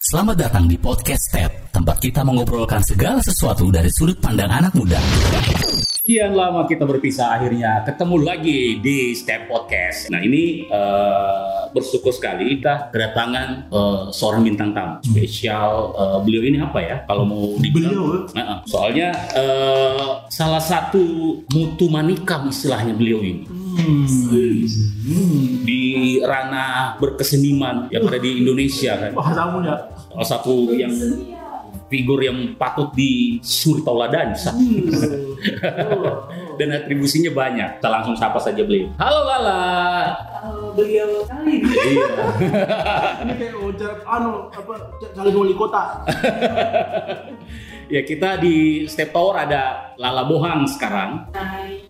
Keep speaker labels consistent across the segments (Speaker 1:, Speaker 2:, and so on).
Speaker 1: Selamat datang di Podcast Tab, tempat kita mengobrolkan segala sesuatu dari sudut pandang anak muda.
Speaker 2: Sekian lama kita berpisah, akhirnya ketemu lagi di Step Podcast. Nah ini eh, bersyukur sekali kita kedatangan eh, seorang bintang
Speaker 1: Hmm.
Speaker 2: tamu spesial. eh, beliau ini apa ya? Kalau mau dibilang,
Speaker 3: Beliau?
Speaker 2: Nah, eh, soalnya eh, salah satu mutu manikam istilahnya beliau ini
Speaker 3: Hmm.
Speaker 2: di ranah berkeseniman yang ada di Indonesia kan.
Speaker 3: Wah, kamu ya.
Speaker 2: Salah satu yang figur yang patut disuri tauladan.
Speaker 3: Hmm.
Speaker 2: dan atribusinya banyak. Kita langsung sapa saja beliau. Halo Lala.
Speaker 3: Kalau beliau kali ini
Speaker 2: Iya.
Speaker 3: kayak wajar anu apa calon wali kota.
Speaker 2: ya kita di Step Tower ada Lala Bohang sekarang.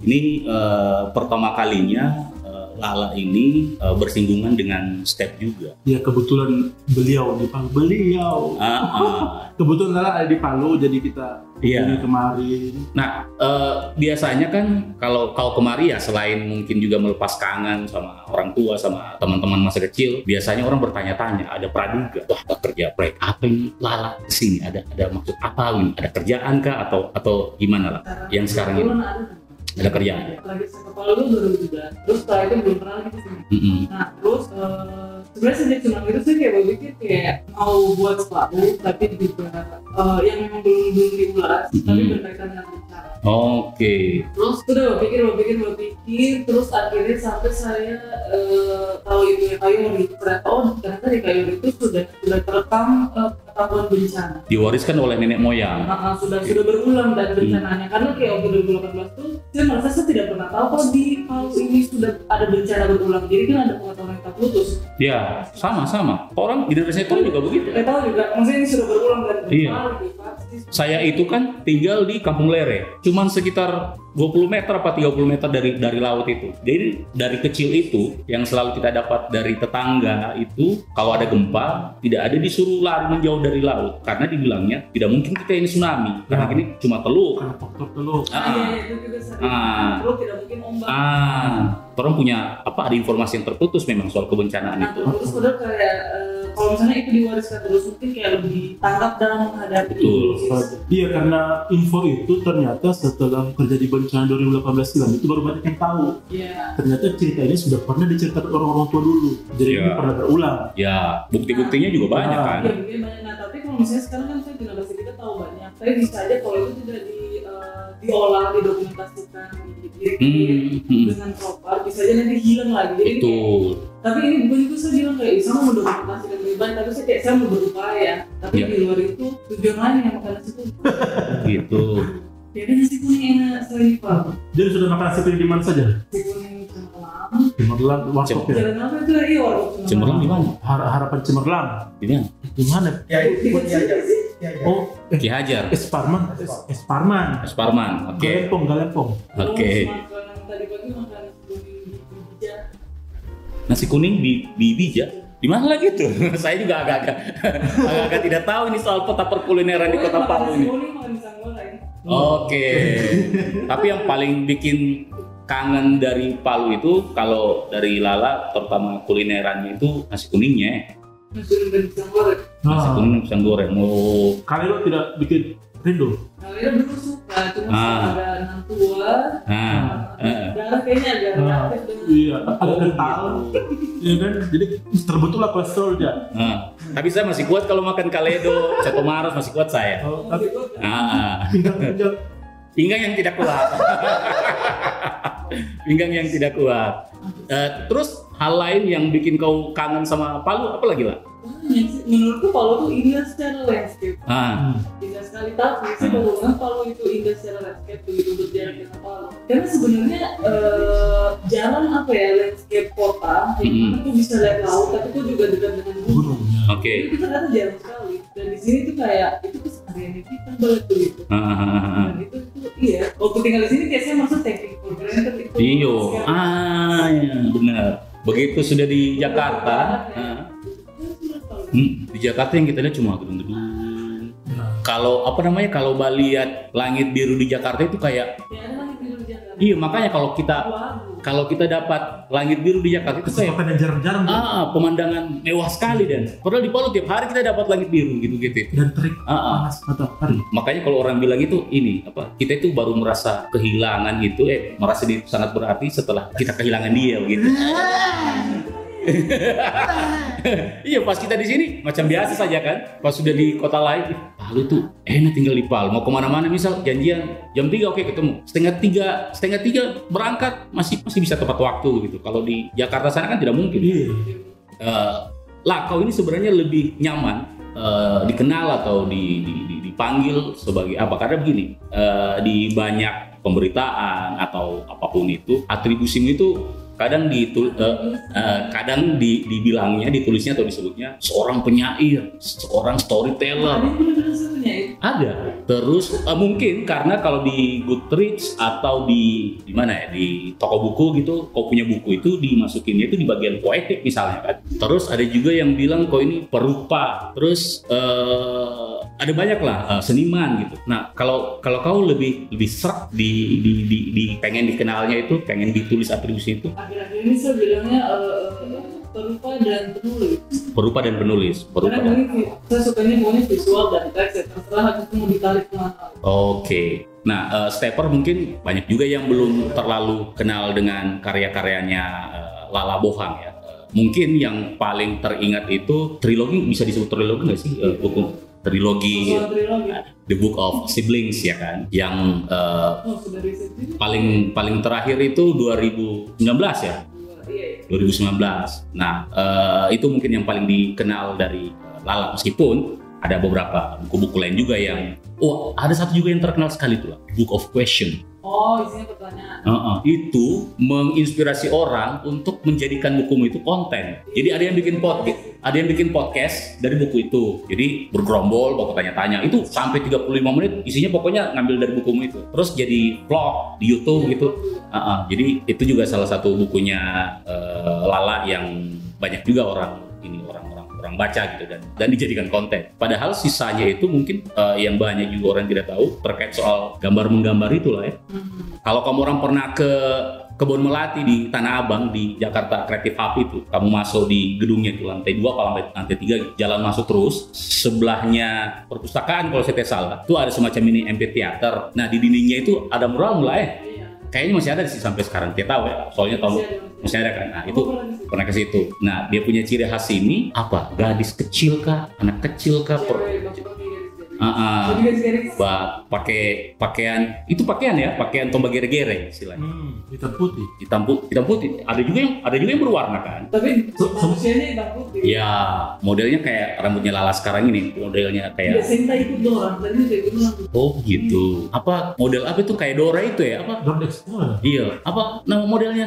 Speaker 2: Ini eh, pertama kalinya eh, Lala ini eh, bersinggungan dengan Step juga.
Speaker 3: Ya kebetulan beliau di Palu. Beliau.
Speaker 2: Ah, ah.
Speaker 3: Kebetulan Lala ada di Palu jadi kita
Speaker 2: Iya.
Speaker 3: ini kemarin.
Speaker 2: Nah, eh, biasanya kan kalau kau kemari ya selain mungkin juga melepas kangen sama orang tua sama teman-teman masa kecil, biasanya orang bertanya-tanya, ada praduga, wah ada kerja proyek apa ini lala sini ada ada maksud apa ini? Ada kerjaan kah atau atau gimana lah? Yang sekarang ini
Speaker 4: Belum ada.
Speaker 2: ada kerjaan. ya?
Speaker 4: Lagi sepak bola dulu baru juga. Terus setelah itu belum pernah lagi kesini.
Speaker 2: Mm-mm.
Speaker 4: Nah terus eh, sebenarnya sejak tsunami itu sih kayak berpikir kayak mau buat sepatu tapi juga eh, yang memang belum belum diulas tapi
Speaker 2: Mhm.
Speaker 4: berkaitan dengan eh, rencana.
Speaker 2: Oke.
Speaker 4: Terus udah berpikir berpikir berpikir terus akhirnya sampai saya eh, tahu itu Kayuri ternyata oh ternyata di Kayuri itu sudah sudah terekam eh, pengetahuan bencana.
Speaker 2: Diwariskan oleh nenek moyang.
Speaker 4: Nah, sudah sudah berulang dan
Speaker 2: Hmm.
Speaker 4: bencananya karena kayak waktu 2018 tuh saya merasa saya tidak pernah tahu kalau di Palu ini sudah ada bencana berulang jadi kan ada pengetahuan yang tak putus
Speaker 2: Ya, sama-sama. Orang generasi itu juga begitu.
Speaker 4: saya tahu juga maksudnya ini sudah berulang dan
Speaker 2: Iya.
Speaker 4: berulang gitu, pasti
Speaker 2: Saya itu kan tinggal di Kampung Lere, cuman sekitar 20 meter apa 30 meter dari dari laut itu. Jadi dari kecil itu yang selalu kita dapat dari tetangga itu kalau ada gempa tidak ada disuruh lari menjauh dari laut karena dibilangnya tidak mungkin kita ini tsunami karena
Speaker 3: Ya.
Speaker 2: ini cuma teluk.
Speaker 3: Bukan faktor telur.
Speaker 2: Ah,
Speaker 4: Iya, iya, itu juga sering
Speaker 2: Ah.
Speaker 4: Terus tidak mungkin ombak
Speaker 2: Ah, orang punya apa ada informasi yang terputus memang soal kebencanaan
Speaker 4: Nah,
Speaker 2: itu.
Speaker 4: terus udah kayak eh, kalau misalnya itu diwariskan terus mungkin kayak lebih tanggap dalam menghadapi
Speaker 2: Betul.
Speaker 3: Iya karena info itu ternyata setelah terjadi bencana 2018 silam itu baru banyak yang tahu.
Speaker 4: Iya.
Speaker 3: Ternyata cerita ini sudah pernah diceritakan orang-orang tua dulu. Jadi
Speaker 2: Iya.
Speaker 3: ini pernah berulang.
Speaker 2: Ya, bukti-buktinya juga banyak kan.
Speaker 4: Iya, mungkin banyak. Nah, tapi kalau misalnya sekarang kan saya generasi kita tahu banyak. Tapi bisa aja kalau itu tidak di, eh, diolah, didokumentasikan, dibikin
Speaker 2: Hmm, hmm,
Speaker 4: dengan proper, bisa aja nanti hilang lagi. Jadi,
Speaker 2: betul.
Speaker 4: Tapi ini bukan itu saya bilang kayak saya mau mendokumentasikan lebih baik, tapi saya kayak saya mau berupaya. Tapi
Speaker 2: Iya.
Speaker 4: di luar itu tujuan lain yang makan nasi kuning.
Speaker 2: Gitu.
Speaker 4: Jadi nasi kuning enak selain apa?
Speaker 3: Jadi sudah makan nasi kuning di mana saja?
Speaker 4: Nasi kuning cemerlang.
Speaker 3: Di Magelang, warkop ya.
Speaker 4: Jalan apa itu iya warung
Speaker 2: Cemerlang di mana?
Speaker 3: Har- harapan Cemerlang.
Speaker 2: Ini yang
Speaker 3: Di mana?
Speaker 5: Ya,
Speaker 4: Di
Speaker 5: ikut ya, ya.
Speaker 4: sih.
Speaker 5: Ya, ya.
Speaker 3: Oh, eh,
Speaker 2: Ki Hajar,
Speaker 3: Es Parman, Es Parman,
Speaker 2: Mas Parman. Oke.
Speaker 3: Galempong, Galempong.
Speaker 2: Oke.
Speaker 4: Terus Makanan tadi pagi makan nasi kuning di Bija.
Speaker 2: nasi kuning di di Bija di mana lagi tuh saya juga agak-agak agak-agak tidak tahu ini soal peta perkulineran di kota Palu ini
Speaker 4: Boleh makan pisang goreng.
Speaker 2: oke tapi yang paling bikin kangen dari Palu itu kalau dari Lala terutama kulinerannya itu nasi kuningnya
Speaker 4: Nasi kuning dan pisang goreng.
Speaker 2: nasi
Speaker 3: Nah,
Speaker 2: kuning pisang goreng oh
Speaker 3: kalian lo tidak bikin rindu.
Speaker 4: Kalian dulu suka, cuma
Speaker 2: Ah.
Speaker 4: sekarang ada anak tua.
Speaker 2: nah eh.
Speaker 4: Darah kayaknya agak
Speaker 3: Nah,
Speaker 4: reaktif dengan
Speaker 3: iya, agak kental. Iya kan? Jadi terbentuklah kolesterolnya.
Speaker 2: Nah. tapi saya masih kuat kalau makan kaledo coto maros masih kuat saya
Speaker 3: Oh, tapi
Speaker 2: nah
Speaker 3: pinggang-pinggang
Speaker 2: pinggang yang tidak kuat pinggang yang tidak kuat Eh, terus hal lain yang bikin kau kangen sama Palu apa lagi lah
Speaker 4: Banyak sih. Menurutku Palu tuh indah secara landscape.
Speaker 2: ah
Speaker 3: Hmm,
Speaker 4: Indah sekali tapi saya baru bilang Palu itu indah secara landscape begitu berjarak dengan Palu. Karena sebenarnya eh, jalan apa ya landscape kota, yang
Speaker 2: Mm-mm.
Speaker 4: mana tuh bisa lihat laut, tapi tuh juga dekat dengan gunung.
Speaker 3: gunungnya.
Speaker 2: oke
Speaker 4: Jadi kita ternyata jarang sekali. Dan di sini tuh kan, kayak itu kesehariannya kita banget begitu.
Speaker 2: Ah, ah, ah, ah.
Speaker 4: Dan itu tuh iya. Waktu tinggal di sini kayak saya merasa taking for granted itu.
Speaker 2: iyo
Speaker 4: Sekarang,
Speaker 2: Iya. ah ya, benar begitu sudah di Jakarta ah,
Speaker 4: kan sudah tahu.
Speaker 2: hmm, di Jakarta yang kita lihat cuma gedung-gedung kalau apa ya? namanya kalau lihat langit biru di Jakarta itu kayak
Speaker 4: Ya, ada lagi tidur di Jakarta.
Speaker 2: iya makanya kalau kita
Speaker 4: Waduh.
Speaker 2: kalau kita dapat langit biru di Jakarta itu kayak
Speaker 3: kesempatan yang jarang-jarang
Speaker 2: ah,
Speaker 3: gitu.
Speaker 2: ah, pemandangan mewah sekali dan padahal di Palu tiap hari kita dapat langit biru gitu-gitu.
Speaker 3: dan terik
Speaker 2: Ah, ah.
Speaker 3: panas matahari
Speaker 2: Makanya kalau orang bilang itu ini apa kita itu baru merasa kehilangan itu eh merasa di- sangat berarti setelah kita kehilangan dia gitu. iya pas kita di sini macam biasa saja kan. Pas sudah di kota lain, "Ih, Palu tuh enak tinggal di Palu. Mau kemana-mana misal janjian jam 3 oke ketemu. Setengah tiga setengah tiga berangkat masih masih bisa tepat waktu gitu. Kalau di Jakarta sana kan tidak mungkin.
Speaker 3: iya
Speaker 2: Eh, Lakau ini sebenarnya lebih nyaman eh, dikenal atau di- di- di- dipanggil sebagai apa? Karena begini, eh, di banyak pemberitaan atau apapun itu, atribusimu itu kadang ditul, eh, eh, kadang di- dibilangnya, ditulisnya atau disebutnya seorang penyair, seorang storyteller,
Speaker 4: Ada yang bener-bener serunya itu.
Speaker 2: ada terus eh, mungkin karena kalau di Goodreads atau di di mana ya di toko buku gitu kau punya buku itu dimasukinnya itu di bagian poetik misalnya kan terus ada juga yang bilang kau ini perupa terus eh, ada banyak lah eh, seniman gitu nah kalau kalau kau lebih lebih serak di, di, di, di- pengen dikenalnya itu pengen ditulis atribusi itu
Speaker 4: Akhir-akhir ini saya bilangnya eh, eh, perupa dan penulis.
Speaker 2: perupa dan penulis perupa
Speaker 4: Karena
Speaker 2: dan-
Speaker 4: ini saya sukanya maunya visual dan teks ya. Terserah habis itu mau ditarik kemana.
Speaker 2: Oke. Nah, eh, stepper mungkin banyak juga yang belum terlalu kenal dengan karya-karyanya eh, Lala Bohang ya. Eh, Mungkin yang paling teringat itu trilogi bisa disebut trilogi nggak sih? Eh, buku trilogi
Speaker 4: Visual gitu. trilogi.
Speaker 2: The Book of Siblings ya kan, yang eh,
Speaker 4: Oh, sudah riset juga.
Speaker 2: paling paling terakhir itu 2019 ya.
Speaker 4: Iya, iya.
Speaker 2: 2019. Nah, eh, itu mungkin yang paling dikenal dari eh, Lala meskipun ada beberapa buku-buku lain juga yang oh, ada satu juga yang terkenal sekali tuh, Book of Question.
Speaker 4: Oh, isinya pertanyaan.
Speaker 2: Heeh. Itu menginspirasi orang untuk menjadikan bukumu itu konten. Jadi ada yang bikin podcast, ada yang bikin podcast dari buku itu. Jadi bergerombol, pokok tanya-tanya. Itu sampai 35 menit isinya pokoknya ngambil dari bukumu itu. Terus jadi vlog di YouTube gitu. Heeh. Jadi itu juga salah satu bukunya eh, Lala yang banyak juga orang ini orang-orang orang baca gitu dan dan dijadikan konten. Padahal sisanya itu mungkin eh, yang banyak juga orang tidak tahu terkait soal gambar menggambar itulah ya.
Speaker 4: Hmm.
Speaker 2: Kalau kamu orang pernah ke Kebon Melati di Tanah Abang di Jakarta Creative Hub itu, kamu masuk di gedungnya itu lantai 2 kalau lantai, lantai 3 jalan masuk terus, sebelahnya perpustakaan kalau saya tidak salah, itu ada semacam mini amphitheater. Nah, di dindingnya itu ada ya. mural mulai.
Speaker 4: Iya.
Speaker 2: Kayaknya masih ada sih sampai sekarang, tidak tahu ya. Soalnya tahun
Speaker 4: Masih ada,
Speaker 2: masih ada kan. Nah, itu
Speaker 4: Aku pernah di situ.
Speaker 2: pernah ke situ. Nah, dia punya ciri khas ini apa? Gadis kecil kah? Anak kecil kah? Per-
Speaker 4: Cewek, bapak-bapak, garis-garis.
Speaker 2: Ah, ah.
Speaker 4: Jadi garis-garis.
Speaker 2: Ba- pakai pakaian itu pakaian ya pakaian tombak gere-gere istilahnya
Speaker 3: hmm, hitam putih
Speaker 2: hitam, pu- hitam putih ada juga yang ada juga yang berwarna kan
Speaker 4: Tapi
Speaker 3: So- so-
Speaker 4: manusianya hitam putih.
Speaker 2: ya modelnya kayak rambutnya Lala sekarang ini modelnya
Speaker 4: Iya,
Speaker 2: kayak
Speaker 4: Senta ikut dong orang tadi saya bilang.
Speaker 2: oh gitu apa model apa itu kayak Dora itu ya apa
Speaker 3: Don't explore
Speaker 2: Iya, apa nama modelnya?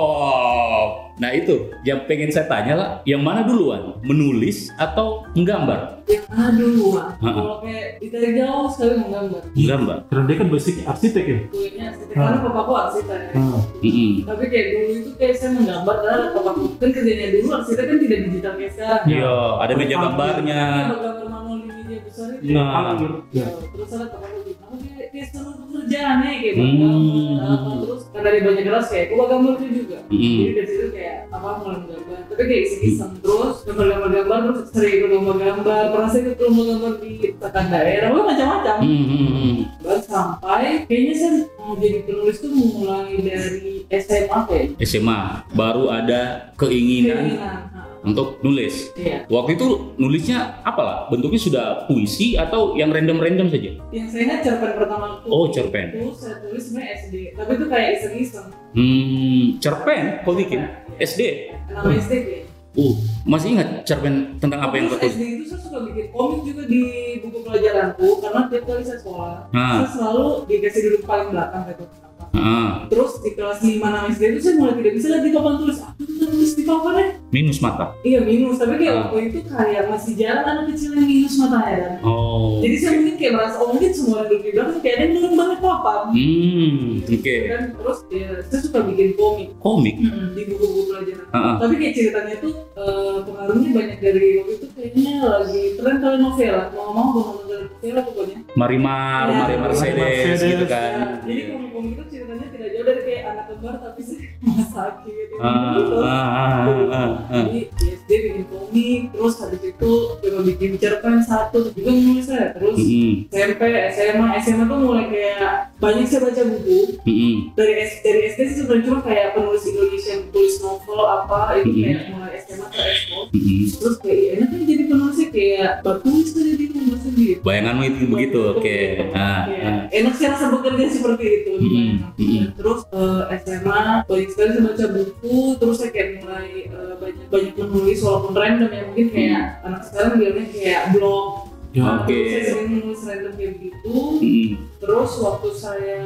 Speaker 2: Bob. Nah itu yang pengen saya tanya lah, yang mana duluan, menulis atau menggambar?
Speaker 4: Ya, aduh, wah.
Speaker 2: Ah, ah.
Speaker 4: kalau kayak ditarik jauh sekali menggambar.
Speaker 2: Menggambar.
Speaker 3: karena dia kan basicnya arsitek ya
Speaker 4: Guenya arsitek,
Speaker 3: Ah.
Speaker 4: karena papaku arsitek.
Speaker 3: Hmm.
Speaker 2: Mm-mm.
Speaker 4: Tapi kayak dulu itu kayak saya menggambar karena papaku kan kerjanya dulu arsitek kan tidak digital kayak sekarang.
Speaker 3: Iya.
Speaker 2: Iya, ada meja gambarnya.
Speaker 4: Kita gambar manual di media besar itu.
Speaker 3: Iya,
Speaker 2: Nah.
Speaker 3: alur. Ya.
Speaker 4: Terus ada teman aku bilang, kayak kayak seru pekerjaannya ya," kayak gitu.
Speaker 2: Hmm.
Speaker 4: menggambar. apa. Terus karena dia banyak kelas kayak, gua gambar itu juga. Jadi
Speaker 2: Mm-mm.
Speaker 4: dari situ kayak apa mulai menggambar. Tapi
Speaker 2: Hmm.
Speaker 4: kayak iseng-iseng terus gambar-gambar-gambar terus sering ikut gambar-gambar. Pernah saya ikut gambar-gambar di tekan daerah, wah macam-macam.
Speaker 2: Hmm. Mm-mm.
Speaker 4: Baru sampai kayaknya saya mau jadi penulis tuh mulai dari SMA kayak
Speaker 2: SMA baru ada keinginan
Speaker 4: keinginan. Ha,
Speaker 2: untuk nulis.
Speaker 4: Iya,
Speaker 2: Waktu itu nulisnya apalah? Bentuknya sudah puisi atau yang random-random saja?
Speaker 4: yang saya ingat cerpen pertama aku
Speaker 2: Oh, cerpen.
Speaker 4: itu saya tulis sebenarnya SD, tapi itu kayak iseng-iseng.
Speaker 2: Hmm, cerpen kau bikin? SD?
Speaker 4: Nama SD kayak.
Speaker 2: Uh, masih ingat cerpen tentang apa yang kau
Speaker 4: Terus
Speaker 2: tulis?
Speaker 4: SD itu saya suka bikin komik juga di buku pelajaranku karena tiap kali saya sekolah,
Speaker 2: Ah.
Speaker 4: saya selalu dikasih duduk paling belakang gitu.
Speaker 2: Ah,
Speaker 4: Terus di kelas 5 6 SD itu saya mulai tidak bisa lihat di papan tulis. Aku bisa tulis di papan ya?
Speaker 2: minus mata.
Speaker 4: Iya minus, tapi kayak
Speaker 2: Ah.
Speaker 4: waktu itu kayak masih jarang anak kecil yang minus matanya kan.
Speaker 2: Oh.
Speaker 4: Jadi saya mungkin kayak merasa oh mungkin semua orang duduk di belakang kayak ada yang nurun banget papan.
Speaker 2: Hmm, oke. Hmm.
Speaker 4: Dan terus ya, saya suka bikin komik
Speaker 2: Komik.
Speaker 4: di buku-buku pelajaran.
Speaker 2: Ah, ah.
Speaker 4: Tapi kayak ceritanya tuh eh, pengaruhnya banyak dari waktu itu kayaknya lagi tren kali novela. Mau mau gue nonton dari novela pokoknya.
Speaker 2: Marimar,
Speaker 4: Ya.
Speaker 2: Marimar Mercedes
Speaker 3: Mercedes.
Speaker 2: gitu
Speaker 4: Ya,
Speaker 2: kan.
Speaker 4: jadi komik-komik itu gitu ceritanya tidak jauh dari kayak anak kembar tapi saya rumah sakit ya,
Speaker 2: Ah,
Speaker 4: gitu.
Speaker 2: ah, ah, ah, ah.
Speaker 4: Jadi di SD bikin komik, terus habis itu coba bikin cerpen satu, terus juga nulis saya. Terus
Speaker 2: Mm-mm,
Speaker 4: SMP, SMA, SMA tuh mulai kayak banyak saya baca buku
Speaker 2: mm-mm,
Speaker 4: dari S- dari SD sih sebenarnya cuma kayak penulis Indonesia, penulis novel apa itu
Speaker 2: Mhm.
Speaker 4: kayak mulai SMA ke ekspor.
Speaker 2: mm-mm.
Speaker 4: Terus kayak ya, enak kan jadi penulisnya kayak bagus kan jadi penulis sendiri.
Speaker 2: Bayanganmu itu begitu, oke. Ah,
Speaker 4: Iya.
Speaker 2: ah.
Speaker 4: Enak sih rasa bekerja seperti itu.
Speaker 2: Mhm,
Speaker 4: Nah,
Speaker 2: mhm.
Speaker 4: Terus eh, SMA banyak sekali saya baca buku, terus saya kayak mulai eh, banyak banyak menulis walaupun random ya mungkin kayak anak sekarang bilangnya kayak blog.
Speaker 3: Ya.
Speaker 4: Nah,
Speaker 2: Mm. Oke.
Speaker 4: Saya sering menulis random kayak gitu. begitu.
Speaker 2: Mm-mm.
Speaker 4: Terus waktu saya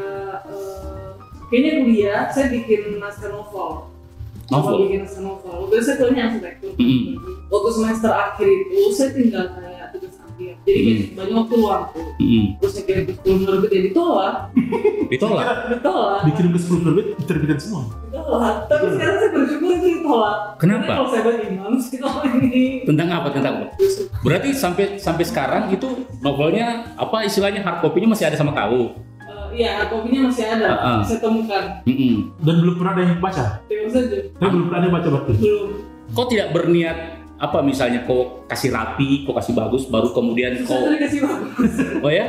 Speaker 4: eh, kayaknya kuliah saya bikin naskah novel. Coba
Speaker 2: Novel? Mm-hmm.
Speaker 4: Bikin naskah novel. Waktu itu saya kuliahnya arsitektur.
Speaker 2: Mm-mm.
Speaker 4: Waktu semester akhir itu saya tinggal kayak tugas akhir. Jadi kayak
Speaker 2: Mm-hmm.
Speaker 4: banyak waktu luangku.
Speaker 2: Mm-mm.
Speaker 4: Terus saya kirim ke sepuluh menerbit ya ditolak,
Speaker 2: Ditolak?
Speaker 4: ditolak,
Speaker 3: dikirim ke 10 terbit diterbitin semua
Speaker 4: ditolak. Tapi sekarang saya bersyukur itu ditolak.
Speaker 2: Kenapa?
Speaker 4: Karena kalau saya bagi manus ditolak ini.
Speaker 2: Tentang apa? Tentang apa?
Speaker 4: Justru
Speaker 2: Berarti sampai sampai sekarang itu novelnya apa istilahnya hard copy-nya masih ada sama kau?
Speaker 4: eh, iya, kopinya masih ada.
Speaker 2: Ah, ah.
Speaker 4: Saya temukan.
Speaker 2: Mm-mm.
Speaker 3: dan belum pernah ada yang baca
Speaker 4: Tengok saja.
Speaker 3: saya belum pernah ada yang baca berarti
Speaker 4: Belum.
Speaker 2: Kau tidak berniat apa misalnya kau kasih rapi, kau kasih bagus, baru kemudian
Speaker 4: Saya
Speaker 2: kau
Speaker 4: tadi kasih bagus.
Speaker 2: oh ya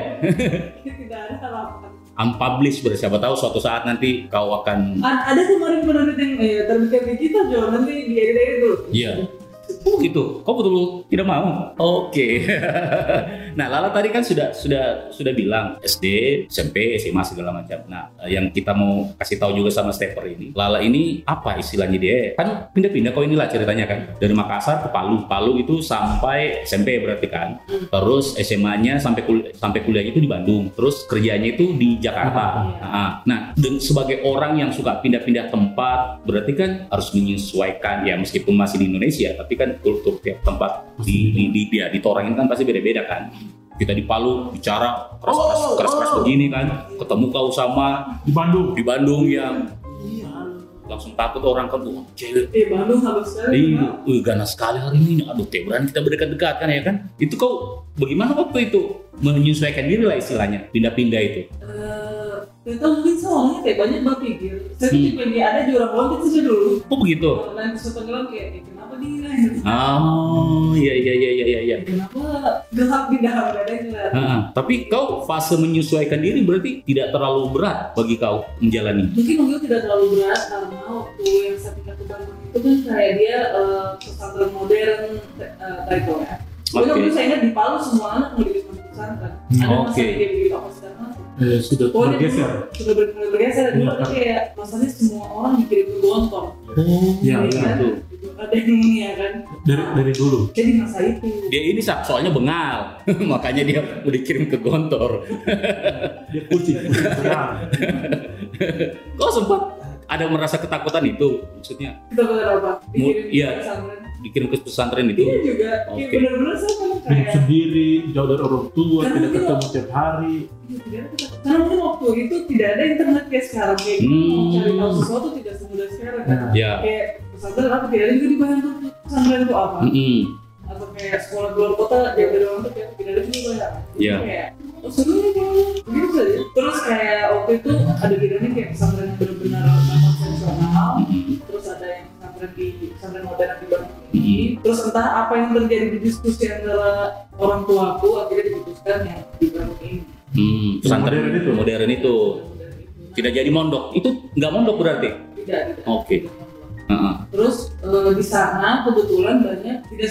Speaker 4: Tidak ada harapan.
Speaker 2: unpublish berarti siapa tahu suatu saat nanti kau akan
Speaker 4: A- ada kemarin penerbit yang eh, terbitkan di kita Jo nanti di edit edit dulu
Speaker 2: Iya. Oh gitu, kau betul tidak mau. Oke. nah, Lala tadi kan sudah sudah sudah bilang SD, SMP, SMA segala macam. Nah, eh, yang kita mau kasih tahu juga sama stepper ini, Lala ini apa istilahnya dia? Kan pindah-pindah kau inilah ceritanya kan. Dari Makassar ke Palu. Palu itu sampai SMP berarti kan. Terus SMA-nya sampai kul- sampai kuliah itu di Bandung. Terus kerjanya itu di Jakarta.
Speaker 4: Iya.
Speaker 2: Ah, Nah, dan sebagai orang yang suka pindah-pindah tempat, berarti kan harus menyesuaikan ya meskipun masih di Indonesia, tapi kan kultur tiap tempat di di di, dia di Torang ini kan pasti beda-beda kan. Kita di Palu bicara keras keras keras keras begini kan, ketemu kau sama
Speaker 3: di Bandung
Speaker 2: di Bandung yang
Speaker 3: iya
Speaker 2: langsung takut orang kan tuh cewek
Speaker 4: eh Bandung habis sekali
Speaker 2: ini
Speaker 4: Pak.
Speaker 2: eh, ganas sekali hari ini aduh teh berani kita berdekat-dekat kan ya kan itu kau bagaimana waktu itu menyesuaikan diri lah istilahnya pindah-pindah itu
Speaker 4: Eh, Gak tau mungkin saya orangnya kayak banyak banget pikir Saya tuh pengen dia ada jurang lompat saja
Speaker 2: Hmm.
Speaker 4: dulu
Speaker 2: oh Iya. begitu
Speaker 4: Nanti saya tenggelam kayak, eh, kenapa dia? Eh,
Speaker 2: oh iya iya iya iya iya, iya
Speaker 4: Kenapa gelap di dalam gak ada yang gelap?
Speaker 2: Heeh. Tapi kau fase menyesuaikan diri berarti tidak terlalu berat bagi kau menjalani.
Speaker 4: Mungkin mungkin tidak terlalu berat karena waktu yang saya pindah ke Bandung itu kan kayak dia eh, pesantren modern eh, Taiko ya
Speaker 2: Oke. Hmm,
Speaker 4: Mungkin waktu itu saya ingat di Palu semua anak mau di pesantren Ada masa
Speaker 2: Oke.
Speaker 4: dia beli apa segala macam
Speaker 3: eh, sudah
Speaker 4: Oh, dia
Speaker 3: bergeser
Speaker 4: dulu sudah benar-benar bergeser dulu
Speaker 3: Iya.
Speaker 4: kan kayak masalahnya semua orang dikirim ke Gontong
Speaker 2: Oh,
Speaker 3: Iya,
Speaker 4: iya. ada yang ini ya kan
Speaker 3: dari dari dulu
Speaker 4: jadi masa itu
Speaker 2: Dia ini sak soalnya bengal, makanya dia mau dikirim ke Gontor.
Speaker 3: dia kucing kucing terang
Speaker 2: Kau sempat ada merasa ketakutan itu, maksudnya
Speaker 4: kita boleh apa dikirim
Speaker 2: Mu- iya.
Speaker 4: ke pesantren
Speaker 2: dikirim ke pesantren
Speaker 4: iya
Speaker 2: itu.
Speaker 4: kan? juga
Speaker 2: Oke.
Speaker 4: kayak benar-benar saya kan
Speaker 3: hidup
Speaker 4: kayak
Speaker 3: sendiri jauh dari orang tua
Speaker 4: Karena
Speaker 3: tidak
Speaker 4: dia-
Speaker 3: ketemu tiap hari
Speaker 4: "Iya, tidak ada kata-" karena mungkin waktu itu tidak ada internet kayak sekarang kayak gitu
Speaker 2: Hmm.
Speaker 4: mau cari tahu sesuatu tidak semudah sekarang kan
Speaker 3: nah,
Speaker 2: Ya.
Speaker 4: kayak pesantren apa tidak ada juga di Bandung pesantren itu apa
Speaker 2: Hmm. Mm-mm.
Speaker 4: atau kayak sekolah di luar kota yang dari orang tuh kayak tidak ada juga ya
Speaker 2: Iya.
Speaker 4: kayak oh seru nih kayaknya. gitu saja terus kayak waktu itu ada bedanya kayak pesantren yang benar-benar konvensional
Speaker 2: Mm-mm.
Speaker 4: terus ada yang pesantren di pesantren modern di Bandung ini terus entah apa yang terjadi di diskusi antara orang tuaku akhirnya diputuskan yang di Bandung ini
Speaker 2: Mm, Pesantren
Speaker 3: Modern itu.
Speaker 2: modern itu
Speaker 4: Modern itu. Nah,
Speaker 2: tidak jadi mondok. Itu nggak mondok berarti.
Speaker 4: tidak tidak
Speaker 2: Oke. Heeh.
Speaker 4: Terus eh, di sana kebetulan banyak tidak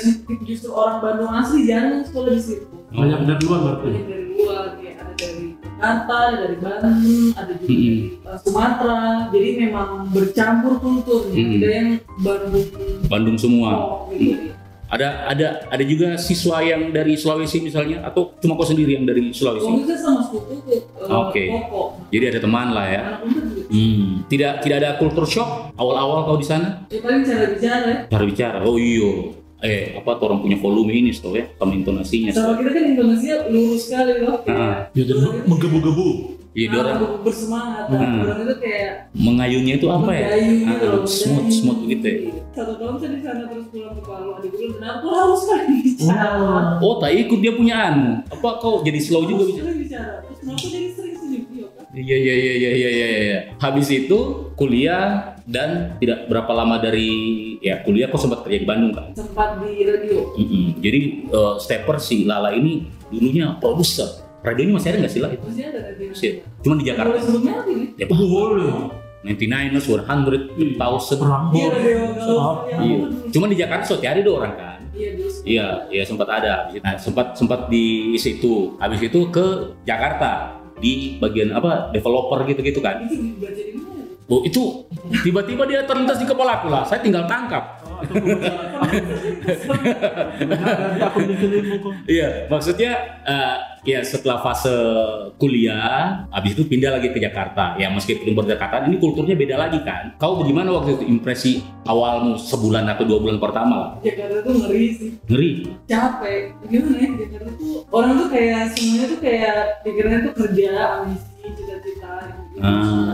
Speaker 4: justru orang Bandung asli jarang yang sekolah di situ.
Speaker 3: banyak dari luar berarti
Speaker 4: banyak dari luar kayak ada dari Jakarta, ada dari Bandung, ada juga
Speaker 2: Mm-mm.
Speaker 4: dari uh, Sumatera. Jadi memang bercampur kultur, nih.
Speaker 2: Mm-mm.
Speaker 4: ada yang Bandung
Speaker 2: Bandung semua.
Speaker 4: Pol, gitu.
Speaker 2: Ada ada ada juga siswa yang dari Sulawesi misalnya atau cuma kau sendiri yang dari
Speaker 4: Waktu
Speaker 3: Oh.
Speaker 2: Sulawesi.
Speaker 4: itu saya sama sepupu ke uh, Nah,
Speaker 2: Oke.
Speaker 4: Koko.
Speaker 2: Jadi ada teman lah ya.
Speaker 4: Anak umur juga.
Speaker 2: Hmm, tidak tidak ada culture shock awal-awal kau di sana
Speaker 4: Ya paling cara bicara ya.
Speaker 2: cara bicara. Oh iyo, eh apa tuh orang punya volume ini tuh ya sama intonasinya.
Speaker 4: Sama kita kan Indonesia lurus sekali loh.
Speaker 2: Ah.
Speaker 3: ya dan me- menggebu-gebu
Speaker 2: Iya, dia orang
Speaker 4: orang bersemangat, Nah,
Speaker 2: Hmm.
Speaker 4: orang itu kayak
Speaker 2: mengayunnya itu apa ya?
Speaker 4: mendayu
Speaker 2: Ah,
Speaker 4: gitu loh,
Speaker 2: smooth
Speaker 4: mendayu.
Speaker 2: smooth gitu ya.
Speaker 4: Satu tahun saya di sana terus pulang ke Palu, adik gue bilang, kenapa lo harus gitu?" kali bicara?
Speaker 2: Oh tak ikut dia punya anu. Apa kau jadi slow juga bisa?
Speaker 4: Sering bicara. Terus kenapa jadi sering senyum? Iya, kan?
Speaker 2: Iya iya iya iya iya iya. iya. Habis itu kuliah dan tidak berapa lama dari ya kuliah aku sempat kerja di Bandung kan.
Speaker 4: sempat di radio
Speaker 2: Mm-mm. Jadi eh, stepper si Lala ini dulunya produser. Radio ini masih ada nggak sih lah itu?
Speaker 4: masih ada radio
Speaker 2: Gitu. Masih. Cuma di
Speaker 4: kalau
Speaker 2: Jakarta.
Speaker 4: sebelumnya apa ini
Speaker 2: Ya bah,
Speaker 3: Oh, boleh
Speaker 2: 99ers, 100, 1000.
Speaker 3: perang
Speaker 4: iya radio
Speaker 3: Oh,
Speaker 4: kalau
Speaker 2: Iya. Cuma di Jakarta setiap hari ada orang kan.
Speaker 4: iya terus
Speaker 2: Iya, iya sempat ada. Habis itu- Nah, sempat sempat di situ. Habis itu ke Jakarta di bagian apa developer gitu-gitu kan.
Speaker 4: itu dibaca di mana
Speaker 2: Oh, itu tiba-tiba dia terlintas di kepala aku lah. Saya tinggal tangkap.
Speaker 3: aku bikin ilmu kok
Speaker 2: Iya, maksudnya eh, ya setelah fase kuliah, habis itu pindah lagi ke Jakarta. Ya meskipun berdekatan, ini kulturnya beda lagi kan. Kau bagaimana waktu itu impresi awalmu sebulan atau dua bulan pertama lah?
Speaker 4: Jakarta tuh ngeri sih
Speaker 2: Ngeri.
Speaker 4: capek gimana ya Jakarta tuh orang tuh kayak semuanya tuh kayak pikirannya tuh kerja ambisi cita-cita gitu
Speaker 2: Ah.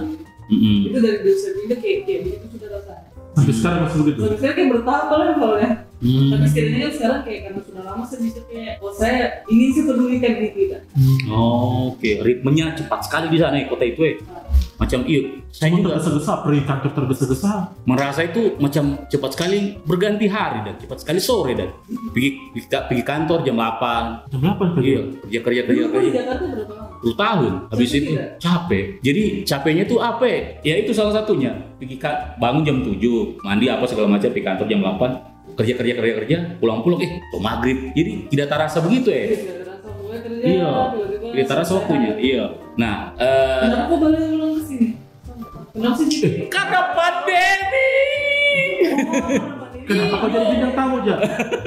Speaker 2: Mm-mm.
Speaker 4: itu dari dosen itu kayak kayak begitu sudah rasanya
Speaker 3: sampai sekarang masih begitu
Speaker 4: Sampai sekarang kayak bertambah level ya
Speaker 2: Hmm.
Speaker 4: tapi setidaknya kan sekarang kayak karena sudah lama saya bisa kayak oh saya ingin sih pedulikan diri kita Hmm.
Speaker 2: Oh, Oke, ritmenya cepat sekali di sana ya kota itu ya. Macam iya, saya
Speaker 3: Cuma
Speaker 2: juga
Speaker 3: tergesa-gesa, pergi kantor tergesa-gesa
Speaker 2: merasa itu macam cepat sekali berganti hari dan cepat sekali sore dan pergi, pergi, pergi kantor jam 8
Speaker 3: Jam 8 pergi
Speaker 2: iya kerja kerja kerja
Speaker 4: dulu kan di
Speaker 2: kerja
Speaker 4: Jakarta berapa lama
Speaker 2: 10 tahun habis
Speaker 4: Capek
Speaker 2: itu
Speaker 4: tidak?
Speaker 2: capek jadi capeknya tuh apa ya? ya itu salah satunya pergi ka- bangun jam 7 mandi apa segala macam di kantor jam 8 kerja kerja kerja kerja pulang pulang eh tuh maghrib jadi tidak terasa begitu ya
Speaker 4: Iya, tidak terasa mulai kerja
Speaker 2: Iya.
Speaker 4: tiba-tiba
Speaker 2: tidak terasa
Speaker 4: selesai.
Speaker 2: waktunya iya nah eh,
Speaker 4: kenapa kok balik ulang ke sini kenapa sih gitu ya?
Speaker 2: karena pandemi
Speaker 3: Kenapa kau jadi
Speaker 2: Iya.
Speaker 3: bintang tamu aja?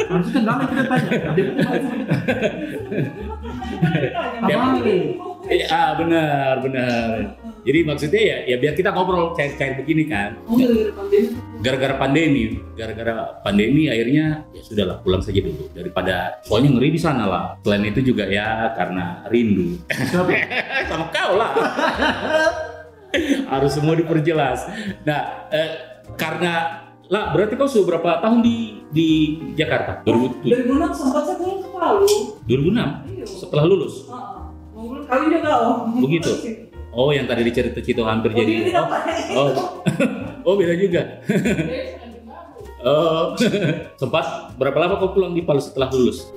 Speaker 3: Harusnya kan lama kita tanya Dia kan pun masih begitu.
Speaker 2: Ya.
Speaker 4: Apaan ini?
Speaker 2: Eh, ah benar benar jadi maksudnya ya ya biar kita ngobrol cair cair begini kan
Speaker 4: Oh,
Speaker 2: gara-gara
Speaker 4: gara-gara pandemi.
Speaker 2: pandemi gara-gara pandemi akhirnya ya sudahlah pulang saja dulu daripada soalnya ngeri di sana lah selain itu juga ya karena rindu
Speaker 3: Siapa?
Speaker 2: Eh, sama kau lah harus semua diperjelas nah eh, karena lah berarti kau sudah berapa tahun di di Jakarta 2007
Speaker 4: Dari Gunung sempat saya pulang ke Palu.
Speaker 2: 2006
Speaker 4: Iya.
Speaker 2: setelah lulus
Speaker 4: Ah, mau pulang kali juga kau.
Speaker 2: Begitu. oh yang tadi dicerita cerita hampir
Speaker 4: Oh, dia
Speaker 2: jadi
Speaker 4: tidak
Speaker 2: oh
Speaker 4: pakai.
Speaker 2: oh,
Speaker 3: gitu.
Speaker 2: oh beda juga
Speaker 4: Dia bukan di Palu.
Speaker 2: oh sempat berapa lama kau pulang di Palu setelah lulus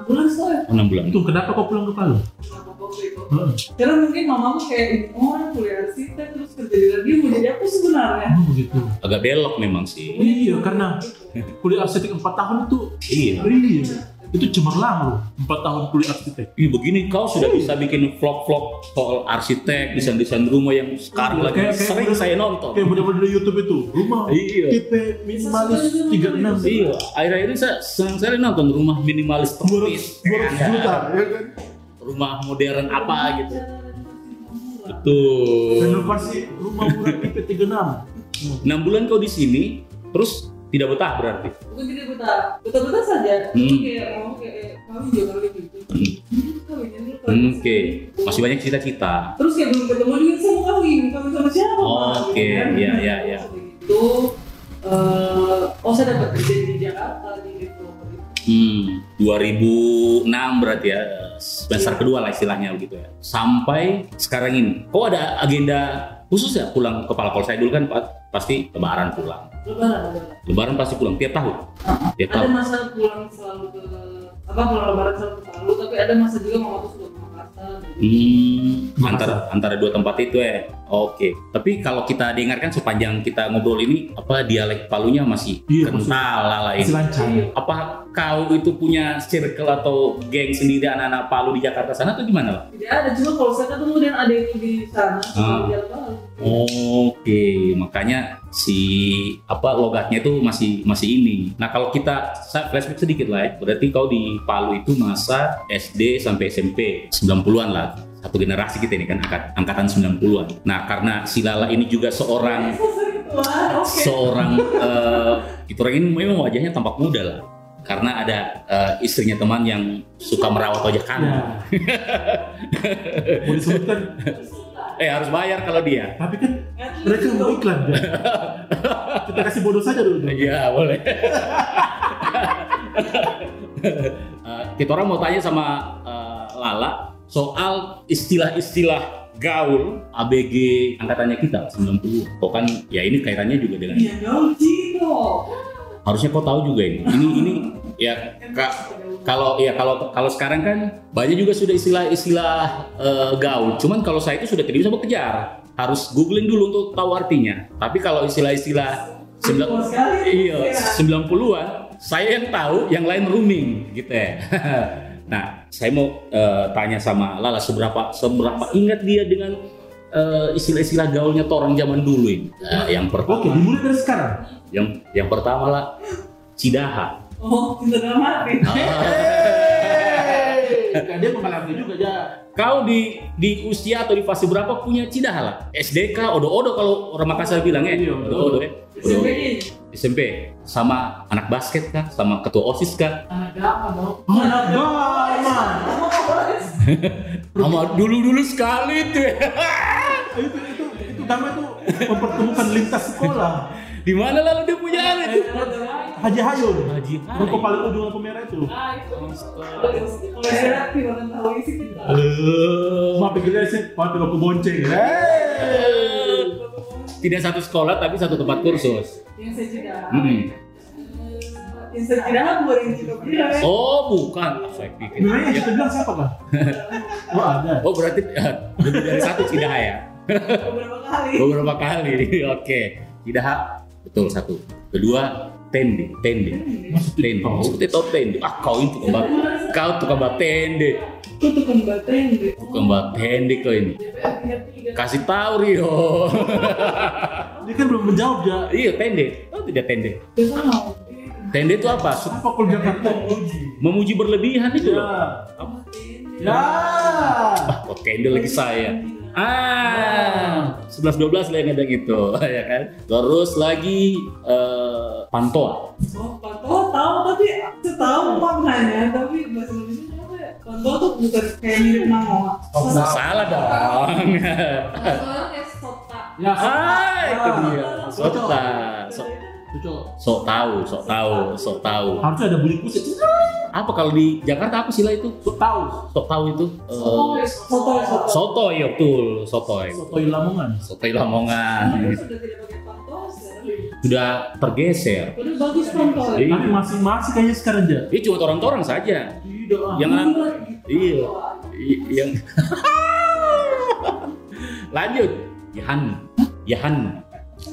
Speaker 4: Eh, ambulans tuh ya.
Speaker 2: 6 bulan
Speaker 3: Itu kenapa kau pulang ke Palu? Hmm.
Speaker 4: Kenapa kau bego?
Speaker 3: Heeh.
Speaker 4: Karena mungkin mamamu kayak oh orang kuliah arsitek terus kerja di radio mau jadi apa sebenarnya?
Speaker 3: Oh begitu
Speaker 2: agak belok memang sih.
Speaker 3: Iya karena kuliah arsitek 4 tahun itu
Speaker 2: Iya.
Speaker 3: Really Itu cemerlang loh 4 tahun kuliah arsitek
Speaker 2: Ih, begini kau sudah bisa bikin vlog-vlog soal arsitek, desain-desain rumah yang sekarang
Speaker 3: Iya,
Speaker 2: lagi
Speaker 3: kayak- kayak
Speaker 2: sering
Speaker 3: bener-
Speaker 2: saya nonton.
Speaker 3: Kayak bener-bener di Youtube itu Rumah
Speaker 2: Iya.
Speaker 3: tipe minimalis 36
Speaker 2: Iya, akhir-akhir ini saya senang sekali nonton rumah minimalis
Speaker 3: 200
Speaker 2: tropis,
Speaker 3: 200 juta ya kan?
Speaker 2: rumah modern apa gitu.
Speaker 4: Murah.
Speaker 2: Betul.
Speaker 3: Renovasi rumah murah tipe 36
Speaker 2: Enam bulan kau di sini, terus tidak betah berarti.
Speaker 4: Bukan tidak betah, betah-betah saja.
Speaker 2: Hmm.
Speaker 4: Kayak mau kayak kami juga kali gitu.
Speaker 2: Hmm.
Speaker 4: Hmm, kawin ini, kawin
Speaker 2: Hmm, Oke,
Speaker 4: ini.
Speaker 2: masih banyak cita-cita.
Speaker 4: Terus kayak belum ketemu dia sama kawin, kawin sama siapa?
Speaker 2: Oh,
Speaker 4: Mak?
Speaker 2: oke.
Speaker 4: Gitu kan?
Speaker 2: Iya, iya, iya.
Speaker 4: Itu, eh, oh saya dapat kerja di Jakarta di developer itu.
Speaker 2: Hmm, 2006 berarti ya semester
Speaker 3: Iya.
Speaker 2: kedua lah istilahnya begitu ya. Sampai sekarang ini, kok ada agenda khusus ya pulang kepala kol saya dulu kan Pak? pasti lebaran pulang.
Speaker 4: Lebaran, lebaran.
Speaker 2: Lebaran pasti pulang tiap tahun.
Speaker 3: Uh-huh.
Speaker 2: Tiap
Speaker 4: Ada
Speaker 2: tahun.
Speaker 4: masa pulang selalu ke apa pulang lebaran selalu ke Palu, tapi ada masa juga mau aku sudah ke Makassar. gitu.
Speaker 2: Hmm,
Speaker 3: Masa?
Speaker 2: antara antara dua tempat itu ya. Oke. Tapi kalau kita dengarkan sepanjang kita ngobrol ini apa dialek Palunya masih
Speaker 3: Iya,
Speaker 2: kental
Speaker 3: masih-
Speaker 2: lah lah
Speaker 3: Masih
Speaker 2: ini.
Speaker 3: lancar
Speaker 2: Apa kau itu punya circle atau geng sendiri anak-anak Palu di Jakarta sana tuh gimana lah?
Speaker 4: Tidak ada, cuma kalau saya ketemu dengan adikku di sana,
Speaker 2: Ah. Oh.
Speaker 4: sama dia Palu.
Speaker 2: Oke, makanya si apa logatnya itu masih masih ini. Nah kalau kita sa- flashback sedikit lah, ya, berarti kau di Palu itu masa SD sampai SMP 90-an lah satu generasi kita ini kan angkat- angkatan 90-an. Nah, karena si Lala ini juga seorang
Speaker 4: Saya sering keluar, oke.
Speaker 2: seorang eh, itu orang ini memang wajahnya tampak muda lah. Karena ada eh, istrinya teman yang suka merawat wajah kanan.
Speaker 3: Nah Mau disebutkan
Speaker 2: Eh harus bayar kalau dia.
Speaker 3: Tapi kan mereka mau iklan kan? Kita kasih bodoh saja dulu kan?
Speaker 2: Iya boleh. Eh, kita orang mau tanya sama eh, Lala soal istilah-istilah gaul ABG angkatannya kita 90 kok kan ya ini kaitannya juga dengan
Speaker 4: Iya dong, Cino.
Speaker 2: harusnya kau tahu juga ini ini ini ya
Speaker 4: Kan
Speaker 2: Kak,
Speaker 4: ada-
Speaker 2: kalau ya kalau kalau sekarang kan banyak juga sudah istilah-istilah eh, gaul. Cuman kalau saya itu sudah tidak bisa bekerja, harus googling dulu untuk tahu artinya. Tapi kalau istilah-istilah
Speaker 4: Betul
Speaker 2: sembilan
Speaker 4: sekali.
Speaker 2: iya
Speaker 4: Ya.
Speaker 2: 90-an, saya yang tahu, yang lain rooming gitu ya. nah, saya mau eh, tanya sama Lala seberapa seberapa ingat dia dengan eh, istilah-istilah gaulnya torang zaman dulu ini. Eh, yang
Speaker 3: Oke,
Speaker 2: pertama,
Speaker 3: dimulai dari sekarang.
Speaker 2: yang yang pertama lah cidaha.
Speaker 4: Oh, kita udah mati.
Speaker 2: Ah.
Speaker 3: Nah, dia mengalami juga ya.
Speaker 2: Kau di di usia atau di fase berapa punya cidah lah? SDK, odo-odo kalau orang Makassar bilang ya.
Speaker 3: Iya,
Speaker 2: Odo-odo ya.
Speaker 4: SMP
Speaker 2: Odo-odo.
Speaker 4: ini.
Speaker 2: SMP sama anak basket kah? Sama ketua OSIS kah?
Speaker 4: Anak apa dong?
Speaker 3: Anak Dharma.
Speaker 2: Sama dulu-dulu sekali tuh. ya.
Speaker 3: Itu itu itu Dharma itu mempertemukan lintas sekolah.
Speaker 2: Di mana lalu dia punya anak itu?
Speaker 3: Haji Hayun.
Speaker 2: Haji Hayun.
Speaker 3: Ruko paling ujung lampu merah itu.
Speaker 4: Ah, itu. Kalau daerah tidak tahu isi kita.
Speaker 3: Mau pikir dia sih, mau pikir aku bonceng. ya."
Speaker 2: Eh?
Speaker 3: Hey.
Speaker 2: Tidak satu sekolah tapi satu tempat kursus. Hmm.
Speaker 4: Yang saya jeda.
Speaker 2: Mm-mm.
Speaker 4: Yang saya jeda aku yang jeda kira.
Speaker 2: Oh bukan, saya pikir.
Speaker 3: Sebenarnya yang kita bilang siapa kah? Oh ada.
Speaker 2: Oh berarti eh, lebih dari satu cidah ya?
Speaker 4: Beberapa kali.
Speaker 2: beberapa kali oke tidak hak betul satu kedua tende tende tende seperti top tende ah kau itu kembar kau tukang bat tende
Speaker 4: Itu tuh kembateng deh.
Speaker 2: tukang bat tende kau ini kasih tahu Rio
Speaker 3: Dia kan belum menjawab ya.
Speaker 2: iya tende oh tidak tende
Speaker 4: Biasa mau.
Speaker 2: tende itu apa Su-
Speaker 3: Apa kalau Jakarta?
Speaker 2: memuji berlebihan itu
Speaker 3: Ya.
Speaker 2: loh
Speaker 4: Iya.
Speaker 3: Ya.
Speaker 2: ah kok tende lagi saya ah 11 12 lah yang ada gitu ya kan terus lagi eh, pantoa
Speaker 4: Oh, pantau tahu tapi saya tahu maknanya tapi bahasa Indonesia apa ya? Pantau tuh bukan kayak mirip nama.
Speaker 2: salah dong
Speaker 4: Orang kayak sota.
Speaker 3: Ya.
Speaker 2: ah itu dia sota So-
Speaker 3: Cocok.
Speaker 2: sok tahu, sok tahu, sok tahu.
Speaker 3: Harusnya ada bunyi kusik.
Speaker 2: Apa kalau di Jakarta apa sila itu?
Speaker 3: Sok tahu.
Speaker 2: Sok tahu itu? Eh,
Speaker 4: ya, Soto, soto.
Speaker 2: soto ya betul, sotoy.
Speaker 3: Sotoy Lamongan.
Speaker 2: Sotoy Lamongan
Speaker 4: Sudah tidak pakai pantau sekarang.
Speaker 2: sudah tergeser.
Speaker 4: Udah bagus pantau. ya.
Speaker 3: Tapi
Speaker 2: Iya.
Speaker 3: masing-masing kayaknya sekarang ya.
Speaker 2: Ini cuma orang-orang saja.
Speaker 3: Tidak. ah.
Speaker 2: Yang
Speaker 4: Gila,
Speaker 2: iya,
Speaker 4: gitu.
Speaker 2: i- yang lanjut Yahan, Yahan.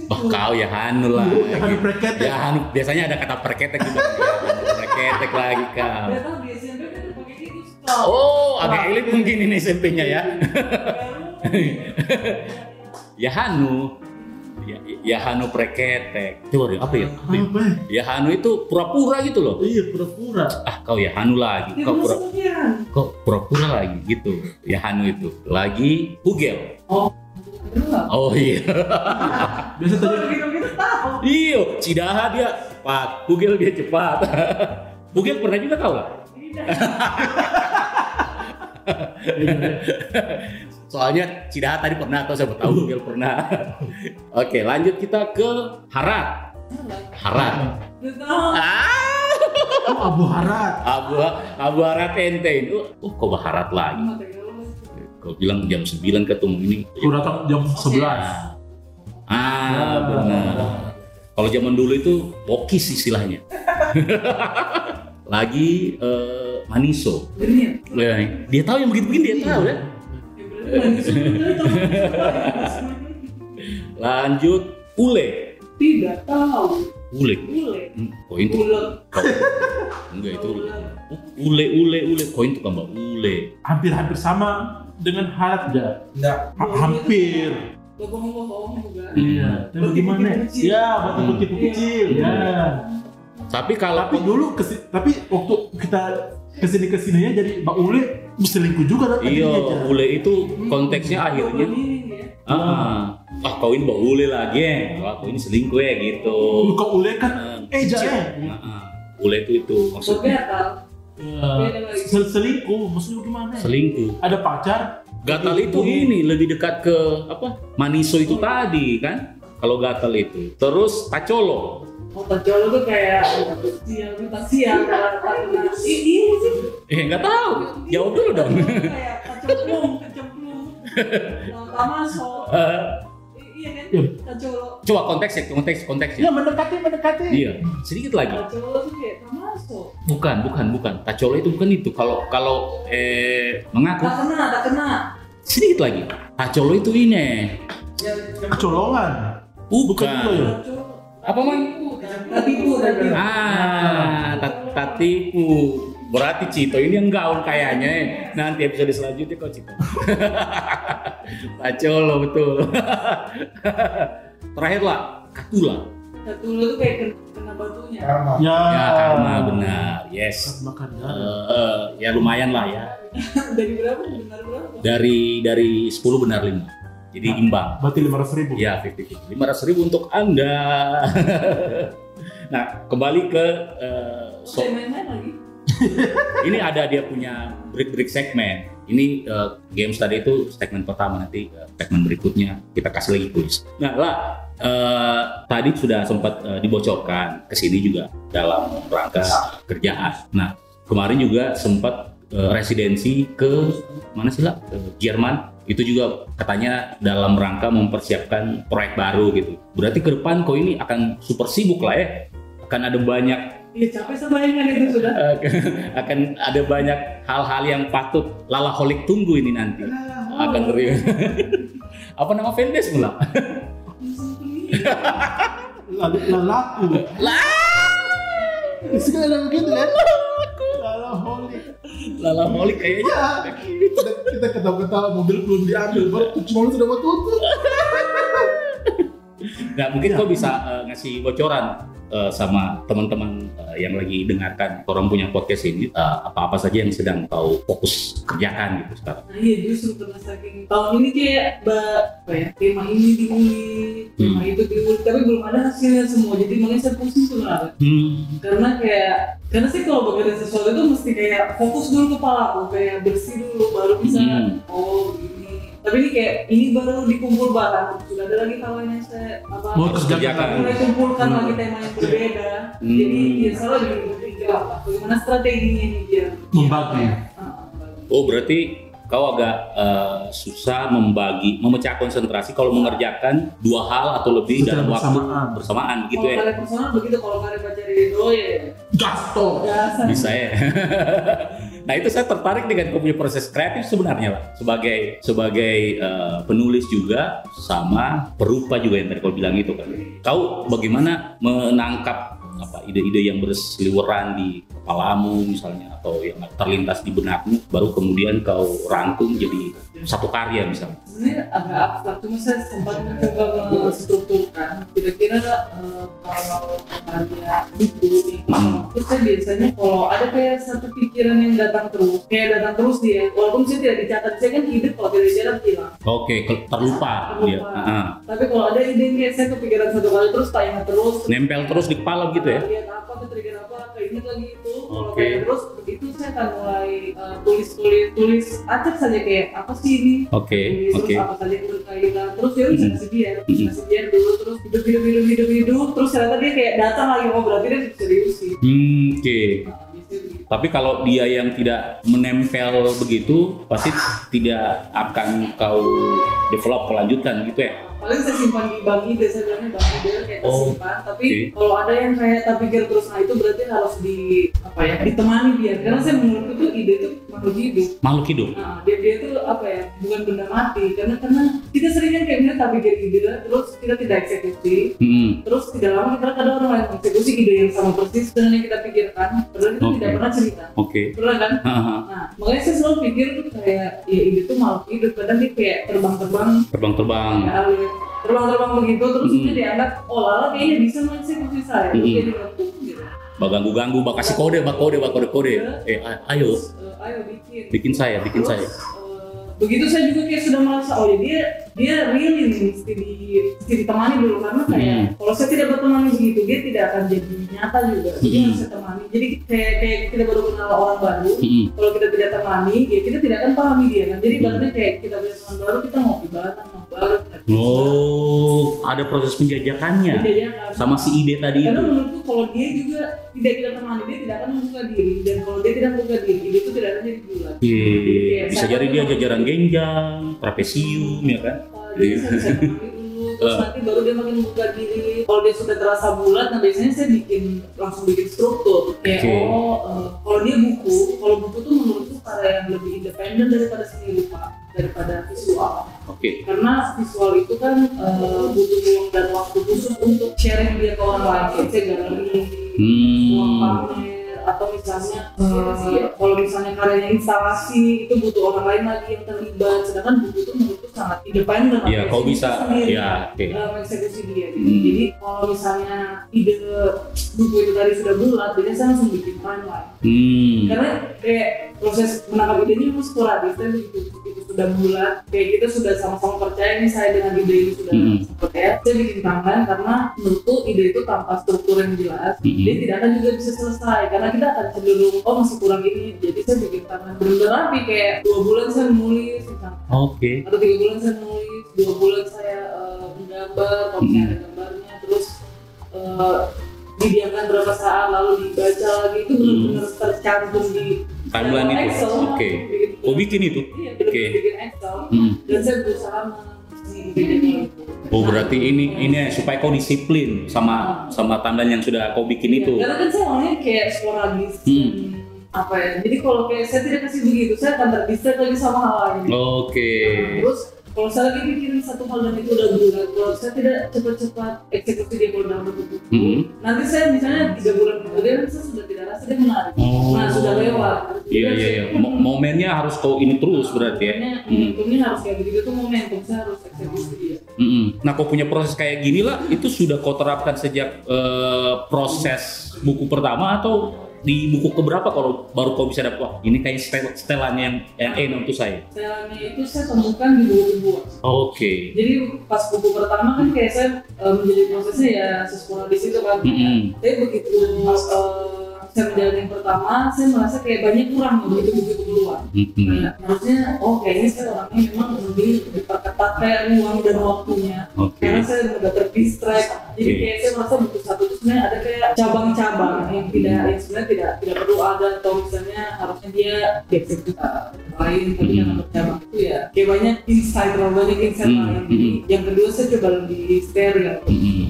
Speaker 2: Bah kau Yahan lah.
Speaker 3: Yang di preketek.
Speaker 2: Yahan biasanya ada kata perketek juga. Yahan, Perketek lagi kau.
Speaker 4: Dia tahu di SMP kan udah pakai itu stop.
Speaker 2: Oh, agak elit mungkin ini SMP-nya ya. Yahanu ya, Yahanu preketek itu apa ya Apa ya?
Speaker 3: Apa ya?
Speaker 2: Yahanu itu pura-pura gitu loh
Speaker 3: Iya pura-pura.
Speaker 2: ah kau Yahanu lagi
Speaker 4: Dia
Speaker 2: kau
Speaker 4: belum
Speaker 2: pura
Speaker 4: sekian.
Speaker 2: kau pura-pura lagi gitu Yahanu itu lagi Hugel
Speaker 4: Belum.
Speaker 2: oh iya
Speaker 3: Biasa
Speaker 4: Kalau
Speaker 3: tadi
Speaker 4: gitu-gitu tahu.
Speaker 2: iyo Cidaha dia cepat Hugel dia cepat Hugel pernah juga kau lah soalnya Cidaha tadi pernah atau siapa tahu Hugel pernah oke lanjut kita ke Harat Harat
Speaker 4: Udah tahu.
Speaker 2: ah
Speaker 3: oh, Abu Harat.
Speaker 2: Abu Abu Harat enten. Uh, oh, kau baharat lagi.
Speaker 4: Mata gelap.
Speaker 2: Kau bilang jam 9 ketemu ini.
Speaker 3: Aku datang jam 11.
Speaker 2: Ah, ah benar. Kalau zaman dulu itu bokis istilahnya. lagi eh, maniso.
Speaker 4: Genit.
Speaker 2: Ya, Dia tahu yang begitu-begini dia tahu ya.
Speaker 4: Ya, berarti manis. Udah tahu.
Speaker 2: Lanjut ule.
Speaker 4: Tidak tahu.
Speaker 2: Ule.
Speaker 4: Boleh.
Speaker 2: Hmm, Koin tuh.
Speaker 4: Ulet.
Speaker 2: Enggak itu. Ule ule ule koin tuh mbak ule.
Speaker 3: Hampir-hampir sama dengan Harat ya.
Speaker 5: Enggak.
Speaker 3: Ha- hampir.
Speaker 4: Gak bohong-bohong juga.
Speaker 3: Iya. Tapi gimana? Ya, batu putih kecil. Ya.
Speaker 2: Tapi kalau
Speaker 3: Tapi dulu kesi, tapi waktu kita kesini kesininya jadi Mbak Uli selingkuh juga kan datang
Speaker 2: Iya,
Speaker 3: dia, Jar.
Speaker 2: ule itu konteksnya akhirnya
Speaker 4: Ini ya.
Speaker 2: Ah, ah kau ini bau ule lagi ya, Wah, kau ini selingkuh ya gitu.
Speaker 3: Kok Uli kan eh jangan.
Speaker 2: Ah, ah. ule itu itu maksudnya
Speaker 4: Begatal.
Speaker 3: Ya, selingkuh maksudnya gimana?
Speaker 2: selingkuh.
Speaker 3: Ada pacar?
Speaker 2: Gatal itu ini lebih dekat ke apa? Maniso itu tadi kan? Kalau gatal itu. Terus tacolo.
Speaker 4: Otak jauh tuh kayak siang, minta siang. Ini sih.
Speaker 2: Eh nggak tahu. Jawab dulu dong.
Speaker 4: Iya kan? Kayak kacemplung, kacemplung. Terutama soal
Speaker 2: Eh,
Speaker 4: i- iya kan
Speaker 3: Iya.
Speaker 4: kacolo.
Speaker 2: coba konteksnya, konteks konteksnya.
Speaker 3: Ya mendekati mendekati.
Speaker 2: Iya, sedikit lagi.
Speaker 4: Kacolo tuh kayak termasuk.
Speaker 2: Bukan, bukan, bukan. Tacolo itu bukan itu. Kalau kalau eh mengaku
Speaker 4: Tak kena, tak kena.
Speaker 2: sedikit lagi. Tacolo itu ini.
Speaker 4: Ya,
Speaker 3: Kecolongan. Bukan itu ya?
Speaker 2: Bukan.
Speaker 4: kacolo.
Speaker 2: Apa, Mang?
Speaker 4: Tatipu, tatipu.
Speaker 2: Ah, ta- tatipu. Berarti Cito ini yang gaul kayaknya. ya. Nanti episode selanjutnya kok Cito. Tacolo betul. Terakhir lah, Katula.
Speaker 4: Kacolo tuh kayak kena- kena batunya.
Speaker 5: Karma.
Speaker 3: Ya.
Speaker 2: Ya, karma benar. Yes.
Speaker 3: Makan
Speaker 2: Eh, eh, ya lumayan lah ya.
Speaker 4: Dari berapa? Benar berapa?
Speaker 2: Dari dari 10 benar 5. Jadi imbang.
Speaker 3: Berarti lima ratus ribu.
Speaker 2: Ya, 50 lima ratus ribu untuk anda. nah, kembali ke eh, so-
Speaker 4: Saya main-main lagi.
Speaker 2: ini ada dia punya break-break segmen. Ini eh, games tadi itu segmen pertama nanti eh, segmen berikutnya kita kasih lagi kuis. Nah, lah eh, tadi sudah sempat eh, dibocorkan ke sini juga dalam rangka kerjaan. Nah, kemarin juga sempat eh, residensi ke mana sih lah Ke Jerman itu juga katanya dalam rangka mempersiapkan proyek baru gitu. Berarti ke depan kau ini akan super sibuk lah ya. Akan ada banyak
Speaker 4: Iya capek sama bayangan itu sudah.
Speaker 2: Eh, akan ada banyak hal-hal yang patut lalaholik tunggu ini nanti
Speaker 4: Nah, oh,
Speaker 2: akan ngeri apa nama fanbase pula
Speaker 3: Lalu lelaku.
Speaker 5: Sekarang begitu kan?
Speaker 3: Lalu holy.
Speaker 2: lalaholik kayaknya
Speaker 5: Kita, kita ketawa-ketawa mobil belum diambil, baru tujuh malam sudah mau tutup.
Speaker 2: nah mungkin kau bisa eh, ngasih bocoran eh, sama teman-teman eh, yang lagi dengarkan orang punya podcast ini eh, apa-apa saja yang sedang kau fokus kerjakan gitu sekarang
Speaker 4: Nah iya justru karena saking tahun ini kayak ba, apa ya, tema ini diundi, tema itu diundi, tapi belum ada hasilnya semua. Jadi makanya saya pusing sebenarnya. Karena kayak karena sih kalau bekerja sesuatu itu mesti kayak fokus dulu kepala aku, kayak bersih dulu baru bisa
Speaker 2: Hmm.
Speaker 4: oh ini. Tapi ini kayak ini baru dikumpul barang, sudah ada lagi kawan yang saya apa
Speaker 3: Mau
Speaker 2: Harus kerjakan.
Speaker 3: kerjakan.
Speaker 4: mulai kumpulkan
Speaker 3: Hmm.
Speaker 4: lagi tema yang berbeda.
Speaker 2: Hmm.
Speaker 4: Jadi ya salah jadi berpikir apa, bagaimana strateginya nih dia.
Speaker 3: Membagi.
Speaker 4: Ah, membagi.
Speaker 2: oh berarti kau agak eh, susah membagi memecah konsentrasi kalau mengerjakan dua hal atau lebih
Speaker 3: Secara
Speaker 2: dalam waktu
Speaker 3: bersamaan.
Speaker 2: bersamaan gitu
Speaker 4: kalau
Speaker 2: ya
Speaker 4: karya personal begitu kalau karya baca Rido ya
Speaker 5: Gasto.
Speaker 4: dasar
Speaker 2: bisa ya. nah itu saya tertarik dengan kau punya proses kreatif sebenarnya lah sebagai sebagai eh, penulis juga sama perupa juga yang tadi kau bilang itu kan. Kau bagaimana menangkap apa ide-ide yang berseliweran di kepalamu misalnya atau yang terlintas di benakmu baru kemudian kau rangkum jadi satu karya misalnya.
Speaker 4: sebenarnya agak abstrak cuma saya sempat mencoba menstrukturkan kira-kira eh, kalau karya buku nih
Speaker 2: Hmm.
Speaker 4: terus saya biasanya kalau ada kayak satu pikiran yang datang terus kayak datang terus dia walaupun saya tidak dicatat saya kan hidup kalau tidak dicatat hilang
Speaker 2: Oke ke- terlupa, dia.
Speaker 4: Terlupa.
Speaker 2: Ah,
Speaker 4: tapi kalau ada ide yang kayak saya kepikiran satu kali terus tanya terus
Speaker 2: nempel terus di kepala gitu ya.
Speaker 4: lihat apa ketrigger apa keinget lagi itu kalau
Speaker 2: Oke.
Speaker 4: kayak terus begitu saya akan mulai uh, tulis tulis tulis acak saja kayak apa sih ini
Speaker 2: Oke
Speaker 4: Tulis,
Speaker 2: oke.
Speaker 4: terus apa saja yang berkaitan terus dia bisa
Speaker 2: Mhm.
Speaker 4: kasih dia
Speaker 2: Mhm.
Speaker 4: kasih dia dulu terus hidup hidup hidup hidup hidup terus ternyata dia kayak datang lagi oh berarti dia serius sih
Speaker 2: Hmm, oke.
Speaker 4: Nah, biasanya begitu.
Speaker 2: Tapi kalau dia yang tidak menempel begitu, pasti tidak akan kau develop kelanjutan gitu ya.
Speaker 4: paling saya simpan di bank ide saya bilangnya bank ide kayak
Speaker 2: Oh,
Speaker 4: tersimpan tapi
Speaker 2: oke.
Speaker 4: kalau ada yang kayak tak pikir terus nah itu berarti harus di apa ya ditemani dia karena saya menurut itu ide itu makhluk hidup
Speaker 2: Makhluk hidup.
Speaker 4: Nah, dia dia itu apa ya bukan benda mati karena karena kita sering kan kayak bilang tak pikir ide terus kita tidak eksekusi
Speaker 2: Hmm,
Speaker 4: terus tidak lama kita kadang orang lain eksekusi ide yang sama persis dengan yang kita pikirkan padahal kita
Speaker 2: Oke.
Speaker 4: tidak pernah cerita
Speaker 2: oke.
Speaker 4: benar kan
Speaker 2: Haha,
Speaker 4: nah makanya saya selalu pikir tuh kayak ya ide tuh makhluk hidup kadang dia kayak terbang-terbang kayak
Speaker 2: Terbang-terbang.
Speaker 4: alir terbang-terbang begitu terus
Speaker 2: Hmm.
Speaker 4: dia dianggap oh lala kayaknya bisa mengeksekusi saya
Speaker 2: Hmm.
Speaker 4: terus dia bilang, "Tuh," gitu
Speaker 2: Bak ganggu-ganggu, bak kasih kode, bak kode, bak kode, kode. Eh, a- ayo,
Speaker 4: Terus, eh, ayo bikin
Speaker 2: bikin saya, bikin saya.
Speaker 4: Terus, eh, begitu saya juga kayak sudah merasa oh ya dia dia really nih mesti di mesti ditemani dulu karena kayak
Speaker 2: Hmm.
Speaker 4: kalau saya tidak bertemani begitu dia tidak akan jadi nyata juga jadi
Speaker 2: Hmm.
Speaker 4: harus saya temani jadi kayak kayak kita baru kenal orang baru
Speaker 2: Hmm,
Speaker 4: kalau kita tidak temani ya kita tidak akan pahami dia kan jadi
Speaker 2: Hmm.
Speaker 4: ibaratnya kayak kita punya teman baru kita ngopi bareng ngobrol bareng
Speaker 2: Oh, ada proses penjajakannya
Speaker 4: penjajakan.
Speaker 2: sama si ide tadi
Speaker 4: Karena
Speaker 2: itu.
Speaker 4: menurutku kalau dia juga tidak kita temani dia tidak akan membuka diri dan kalau dia tidak membuka diri ide itu tidak akan jadi bulan.
Speaker 2: Iya, bisa jadi dia jajaran genjang, trapesium, ya kan?
Speaker 4: Jadi saya bisa temani dulu, terus
Speaker 2: Eh.
Speaker 4: nanti baru dia makin membuka diri. Kalau dia sudah terasa bulat, nah biasanya saya bikin langsung bikin struktur. Kayak
Speaker 2: Oke.
Speaker 4: oh, eh, kalau dia buku, kalau buku tuh menurutku karya yang lebih independen daripada seni rupa, daripada visual.
Speaker 2: Oke.
Speaker 4: karena visual itu kan eh, butuh ruang dan waktu khusus untuk sharing dia ke orang lain kayak saya nggak ngerti ruang
Speaker 2: Hmm.
Speaker 4: pamer atau misalnya eh, kalau misalnya karyanya instalasi itu butuh orang lain lagi yang terlibat sedangkan buku itu menurutku sangat independen
Speaker 2: Iya,
Speaker 4: Apalagi
Speaker 2: kau
Speaker 4: dia
Speaker 2: bisa.
Speaker 4: sendiri,
Speaker 2: Ya, oke.
Speaker 4: eh, mengeksekusi dia gitu.
Speaker 2: Hmm.
Speaker 4: jadi kalau misalnya ide buku itu tadi sudah bulat jadi saya langsung bikin timeline
Speaker 2: Hmm.
Speaker 4: karena kayak proses menangkap idenya itu sporadis dan begitu begitu Gitu. sudah bulat kayak kita sudah sama-sama percaya nih saya dengan ide ini sudah
Speaker 2: Mhm.
Speaker 4: percaya saya bikin tangan karena menurutku ide itu tanpa struktur yang jelas
Speaker 2: Mhm.
Speaker 4: dia tidak akan juga bisa selesai karena kita akan cenderung oh masih kurang ini jadi saya bikin tangan bener-bener rapi kayak dua bulan saya menulis misalnya.
Speaker 2: Oke.
Speaker 4: atau tiga bulan saya menulis dua bulan saya eh, menggambar kalau misalnya ada gambarnya terus eh, didiamkan berapa saat lalu dibaca lagi itu benar-benar tercantum di
Speaker 2: Timeline itu.
Speaker 4: Excel.
Speaker 2: Oke.
Speaker 4: Bikin-
Speaker 2: Kau bikin itu?
Speaker 4: Iya,
Speaker 2: Oke.
Speaker 4: bikin- bikin Excel
Speaker 2: Hmm.
Speaker 4: dan saya berusaha mengidentifikasinya.
Speaker 2: Oh berarti ini ini ya, supaya kau disiplin sama sama tandan yang sudah kau bikin itu.
Speaker 4: Karena kan saya orangnya kayak sporadis.
Speaker 2: Hmm.
Speaker 4: Apa ya? Jadi kalau kayak saya tidak kasih begitu, saya akan terdistract lagi sama hal lain.
Speaker 2: Oke.
Speaker 4: Terus kalau saya lagi mikirin satu hal dan itu udah bulat, kalau saya tidak cepat-cepat eksekusi dia kalau dalam bentuk buku,
Speaker 2: Hmm.
Speaker 4: nanti saya misalnya tiga bulan kemudian saya sudah tidak rasa dia menarik.
Speaker 2: Oh.
Speaker 4: Nah sudah lewat.
Speaker 2: Iya iya iya. Mo- Momennya harus kau ini terus berarti ya.
Speaker 4: Momennya-
Speaker 2: Hmm.
Speaker 4: momentumnya harus kayak begitu tuh momentum saya harus eksekusi dia.
Speaker 2: Mm-mm. Nah, kau punya proses kayak gini lah, itu sudah kau terapkan sejak eh, proses buku pertama atau di buku keberapa kalau baru kau bisa dapat wah, ini kayak stel- stelannya yang yang enak untuk saya.
Speaker 4: Selannya itu saya temukan di buku kedua.
Speaker 2: Oke.
Speaker 4: Jadi pas buku pertama kan kayak saya eh, menjadi prosesnya ya sesuai di situ kan.
Speaker 2: Mm-mm.
Speaker 4: Tapi begitu eh, saya menjalani yang pertama, saya merasa kayak banyak kurang begitu begitu keluar.
Speaker 2: Mm-mm.
Speaker 4: Kayak harusnya oh kayaknya saya orangnya memang lebih diperketat kayak uang dan waktunya.
Speaker 2: Oke.
Speaker 4: Karena saya mudah terdistract. Jadi
Speaker 2: Oke.
Speaker 4: kayak saya merasa buku satu itu sebenarnya ada kayak cabang-cabang
Speaker 2: Hmm.
Speaker 4: yang tidak yang sebenarnya tidak tidak perlu ada atau misalnya harusnya dia dieksekusi uh, lain tapi
Speaker 2: Mhm.
Speaker 4: yang untuk cabang itu ya kayak banyak insight terlalu banyak insight
Speaker 2: Mhm,
Speaker 4: lain. Jadi,
Speaker 2: mhm.
Speaker 4: Yang kedua saya coba lebih ya. steril.
Speaker 2: Mm-mm.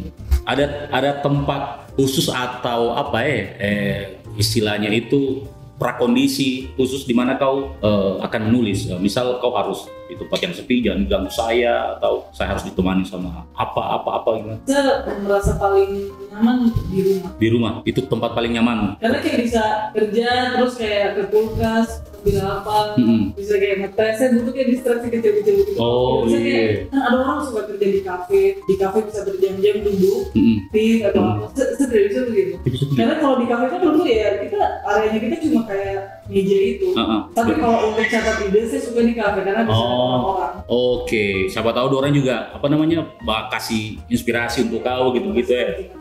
Speaker 2: Ada ada tempat khusus atau apa ya eh, istilahnya itu prakondisi khusus di mana kau eh, akan menulis. Eh, misal kau harus di tempat yang sepi, jangan ganggu saya atau saya harus ditemani sama apa apa apa gimana.
Speaker 4: Saya merasa paling nyaman di rumah
Speaker 2: di rumah itu tempat paling nyaman
Speaker 4: karena kayak bisa kerja terus kayak ke kulkas ambil apa
Speaker 2: Mhm.
Speaker 4: bisa kayak ngetes saya butuh kayak distraksi kecil-kecil gitu
Speaker 2: Oh,
Speaker 4: Saya kayak,
Speaker 2: iya.
Speaker 4: kan ada orang suka kerja di kafe di kafe bisa berjam-jam duduk
Speaker 2: Mm-mm.
Speaker 4: aktif atau apa Saya- saya tidak bisa begitu gitu.
Speaker 2: Iya.
Speaker 4: karena kalau di kafe kan dulu ya kita areanya kita cuma kayak meja itu
Speaker 2: Uh-uh.
Speaker 4: tapi kalau untuk catat ide saya suka di kafe karena bisa
Speaker 2: Oh.
Speaker 4: ketemu orang
Speaker 2: Oke, siapa tahu orang juga apa namanya bak- kasih inspirasi untuk kau gitu-gitu ya.
Speaker 4: baru gitu.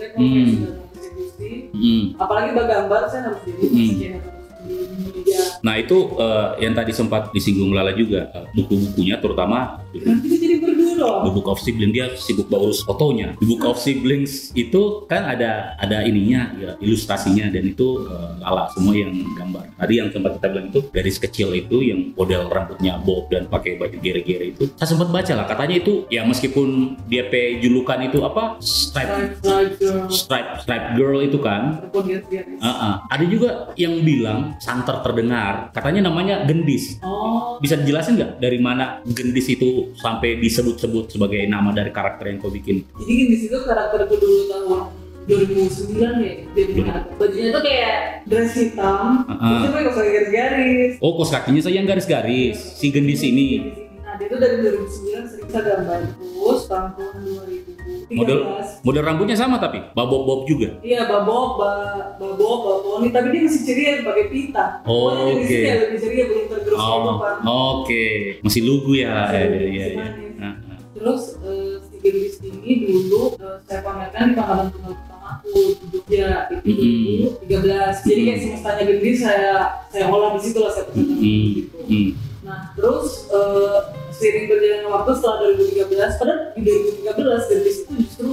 Speaker 4: saya kalau
Speaker 2: Hmm.
Speaker 4: sudah mau eksekusi
Speaker 2: Mm.
Speaker 4: apalagi gambar saya harus jadi
Speaker 2: Hmm.
Speaker 4: sekian atau di meja
Speaker 2: Nah itu eh, yang tadi sempat disinggung Lala juga eh, buku-bukunya terutama gitu.
Speaker 4: kan kita jadi berdua dong
Speaker 2: The Book of Siblings dia sibuk urus fotonya. The Book of Siblings itu kan ada ada ininya ya, ilustrasinya dan itu eh, Lala semua yang gambar. Tadi yang sempat kita bilang itu garis kecil itu yang model rambutnya bob dan pakai baju gere-gere itu. Saya sempat baca lah katanya itu ya meskipun dia pe julukan itu apa stripe
Speaker 4: Stripe, stripe, girl.
Speaker 2: stripe stripe girl itu kan.
Speaker 4: Ataupun garis-garis.
Speaker 2: Heeh. Ada juga yang bilang santer terdengar katanya namanya gendis
Speaker 4: Oh,
Speaker 2: bisa dijelasin nggak dari mana gendis itu sampai disebut-sebut sebagai nama dari karakter yang kau bikin?
Speaker 4: jadi gini di situ karakter gue dulu tahun 2009 ya jadi karakter. bajunya tuh kayak dress hitam
Speaker 2: Heeh.
Speaker 4: terus dia pakai pakai garis-garis
Speaker 2: Oh, kos kakinya saya yang garis-garis, si gendis ini.
Speaker 4: nah dia tuh dari 2009 sering saya gambar terus tahun 2013
Speaker 2: Model model rambutnya sama tapi babob-bob juga.
Speaker 4: Iya, babob, ba- babob, baboni, tapi dia masih ceria pakai pita.
Speaker 2: Oh,
Speaker 4: Pokoknya dari
Speaker 2: oke.
Speaker 4: sini ya lebih ceria belum tergerus
Speaker 2: Oh,
Speaker 4: apa-apa.
Speaker 2: oke. Masih lugu ya.
Speaker 4: Masih
Speaker 2: Iya,
Speaker 4: lugu,
Speaker 2: iya, iya.
Speaker 4: masih manis.
Speaker 2: Nah, nah.
Speaker 4: Terus eh, si Gendis ini dulu eh, saya pamerkan di pangkalan tunggal pertama aku di Jogja itu
Speaker 2: Mm-mm.
Speaker 4: 2013. Jadi kayak semestanya Gendis
Speaker 2: Hmm, Mm-hmm.
Speaker 4: saya saya olah di situ lah saya pesan
Speaker 2: Mm-mm.
Speaker 4: gitu.
Speaker 2: Hmm.
Speaker 4: Nah terus eh, si seiring berjalannya waktu setelah 2013 padahal di 2013 dari situ justru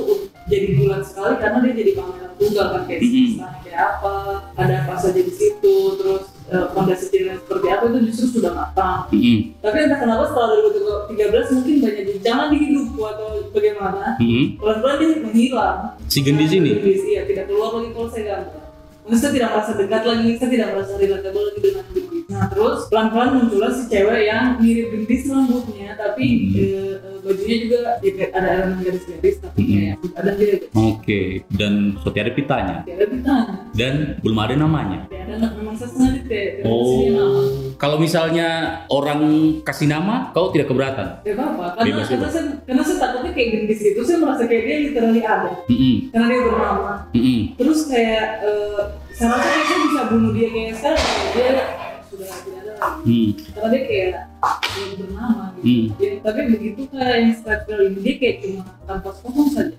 Speaker 4: jadi bulan sekali karena dia jadi pameran tunggal kan kayak
Speaker 2: Mhm.
Speaker 4: mm kayak apa ada apa saja di situ terus eh, fondasi ceritanya seperti apa itu justru sudah matang
Speaker 2: Mm-mm.
Speaker 4: tapi entah kenapa setelah 2013 mungkin banyak jangan di hidupku atau bagaimana
Speaker 2: Mm-mm.
Speaker 4: pelan-pelan dia menghilang
Speaker 6: Si Gendis ini?
Speaker 4: Gendis, iya tidak keluar lagi kalau saya gambar Maksudnya saya tidak merasa dekat lagi, saya tidak merasa relatable lagi dengan hidup ini. Nah terus pelan-pelan muncullah si cewek yang mirip gendis rambutnya, tapi
Speaker 2: Hmm.
Speaker 4: eh, eh, bajunya juga ya, kayak ada elemen garis-garis, tapi
Speaker 2: Hmm.
Speaker 4: kayak ada dia
Speaker 2: Oke, dan seperti ada pitanya
Speaker 4: tidak ada pitanya.
Speaker 2: dan belum ada namanya.
Speaker 4: Ya, ada anak memang saya sengaja kayak dari sini nama.
Speaker 2: Oh, kalau misalnya orang kasih nama, kau tidak keberatan.
Speaker 4: Gak apa-apa, karena,
Speaker 2: Bebas,
Speaker 4: karena, saya, karena saya takutnya kayak gendis itu, saya merasa kayak dia literally ada
Speaker 2: Mm-mm.
Speaker 4: Karena dia bernama,
Speaker 2: Mm-mm.
Speaker 4: terus kayak eh, saya rasa kayak saya bisa bunuh dia kayak sekarang, kayak dia sudah tidak ada lagi
Speaker 2: Mm.
Speaker 4: karena dia kayak belum bernama gitu
Speaker 2: Hmm.
Speaker 4: Ya, tapi begitu kayak yang strike girl ini dia kayak cuma tanpa sombong saja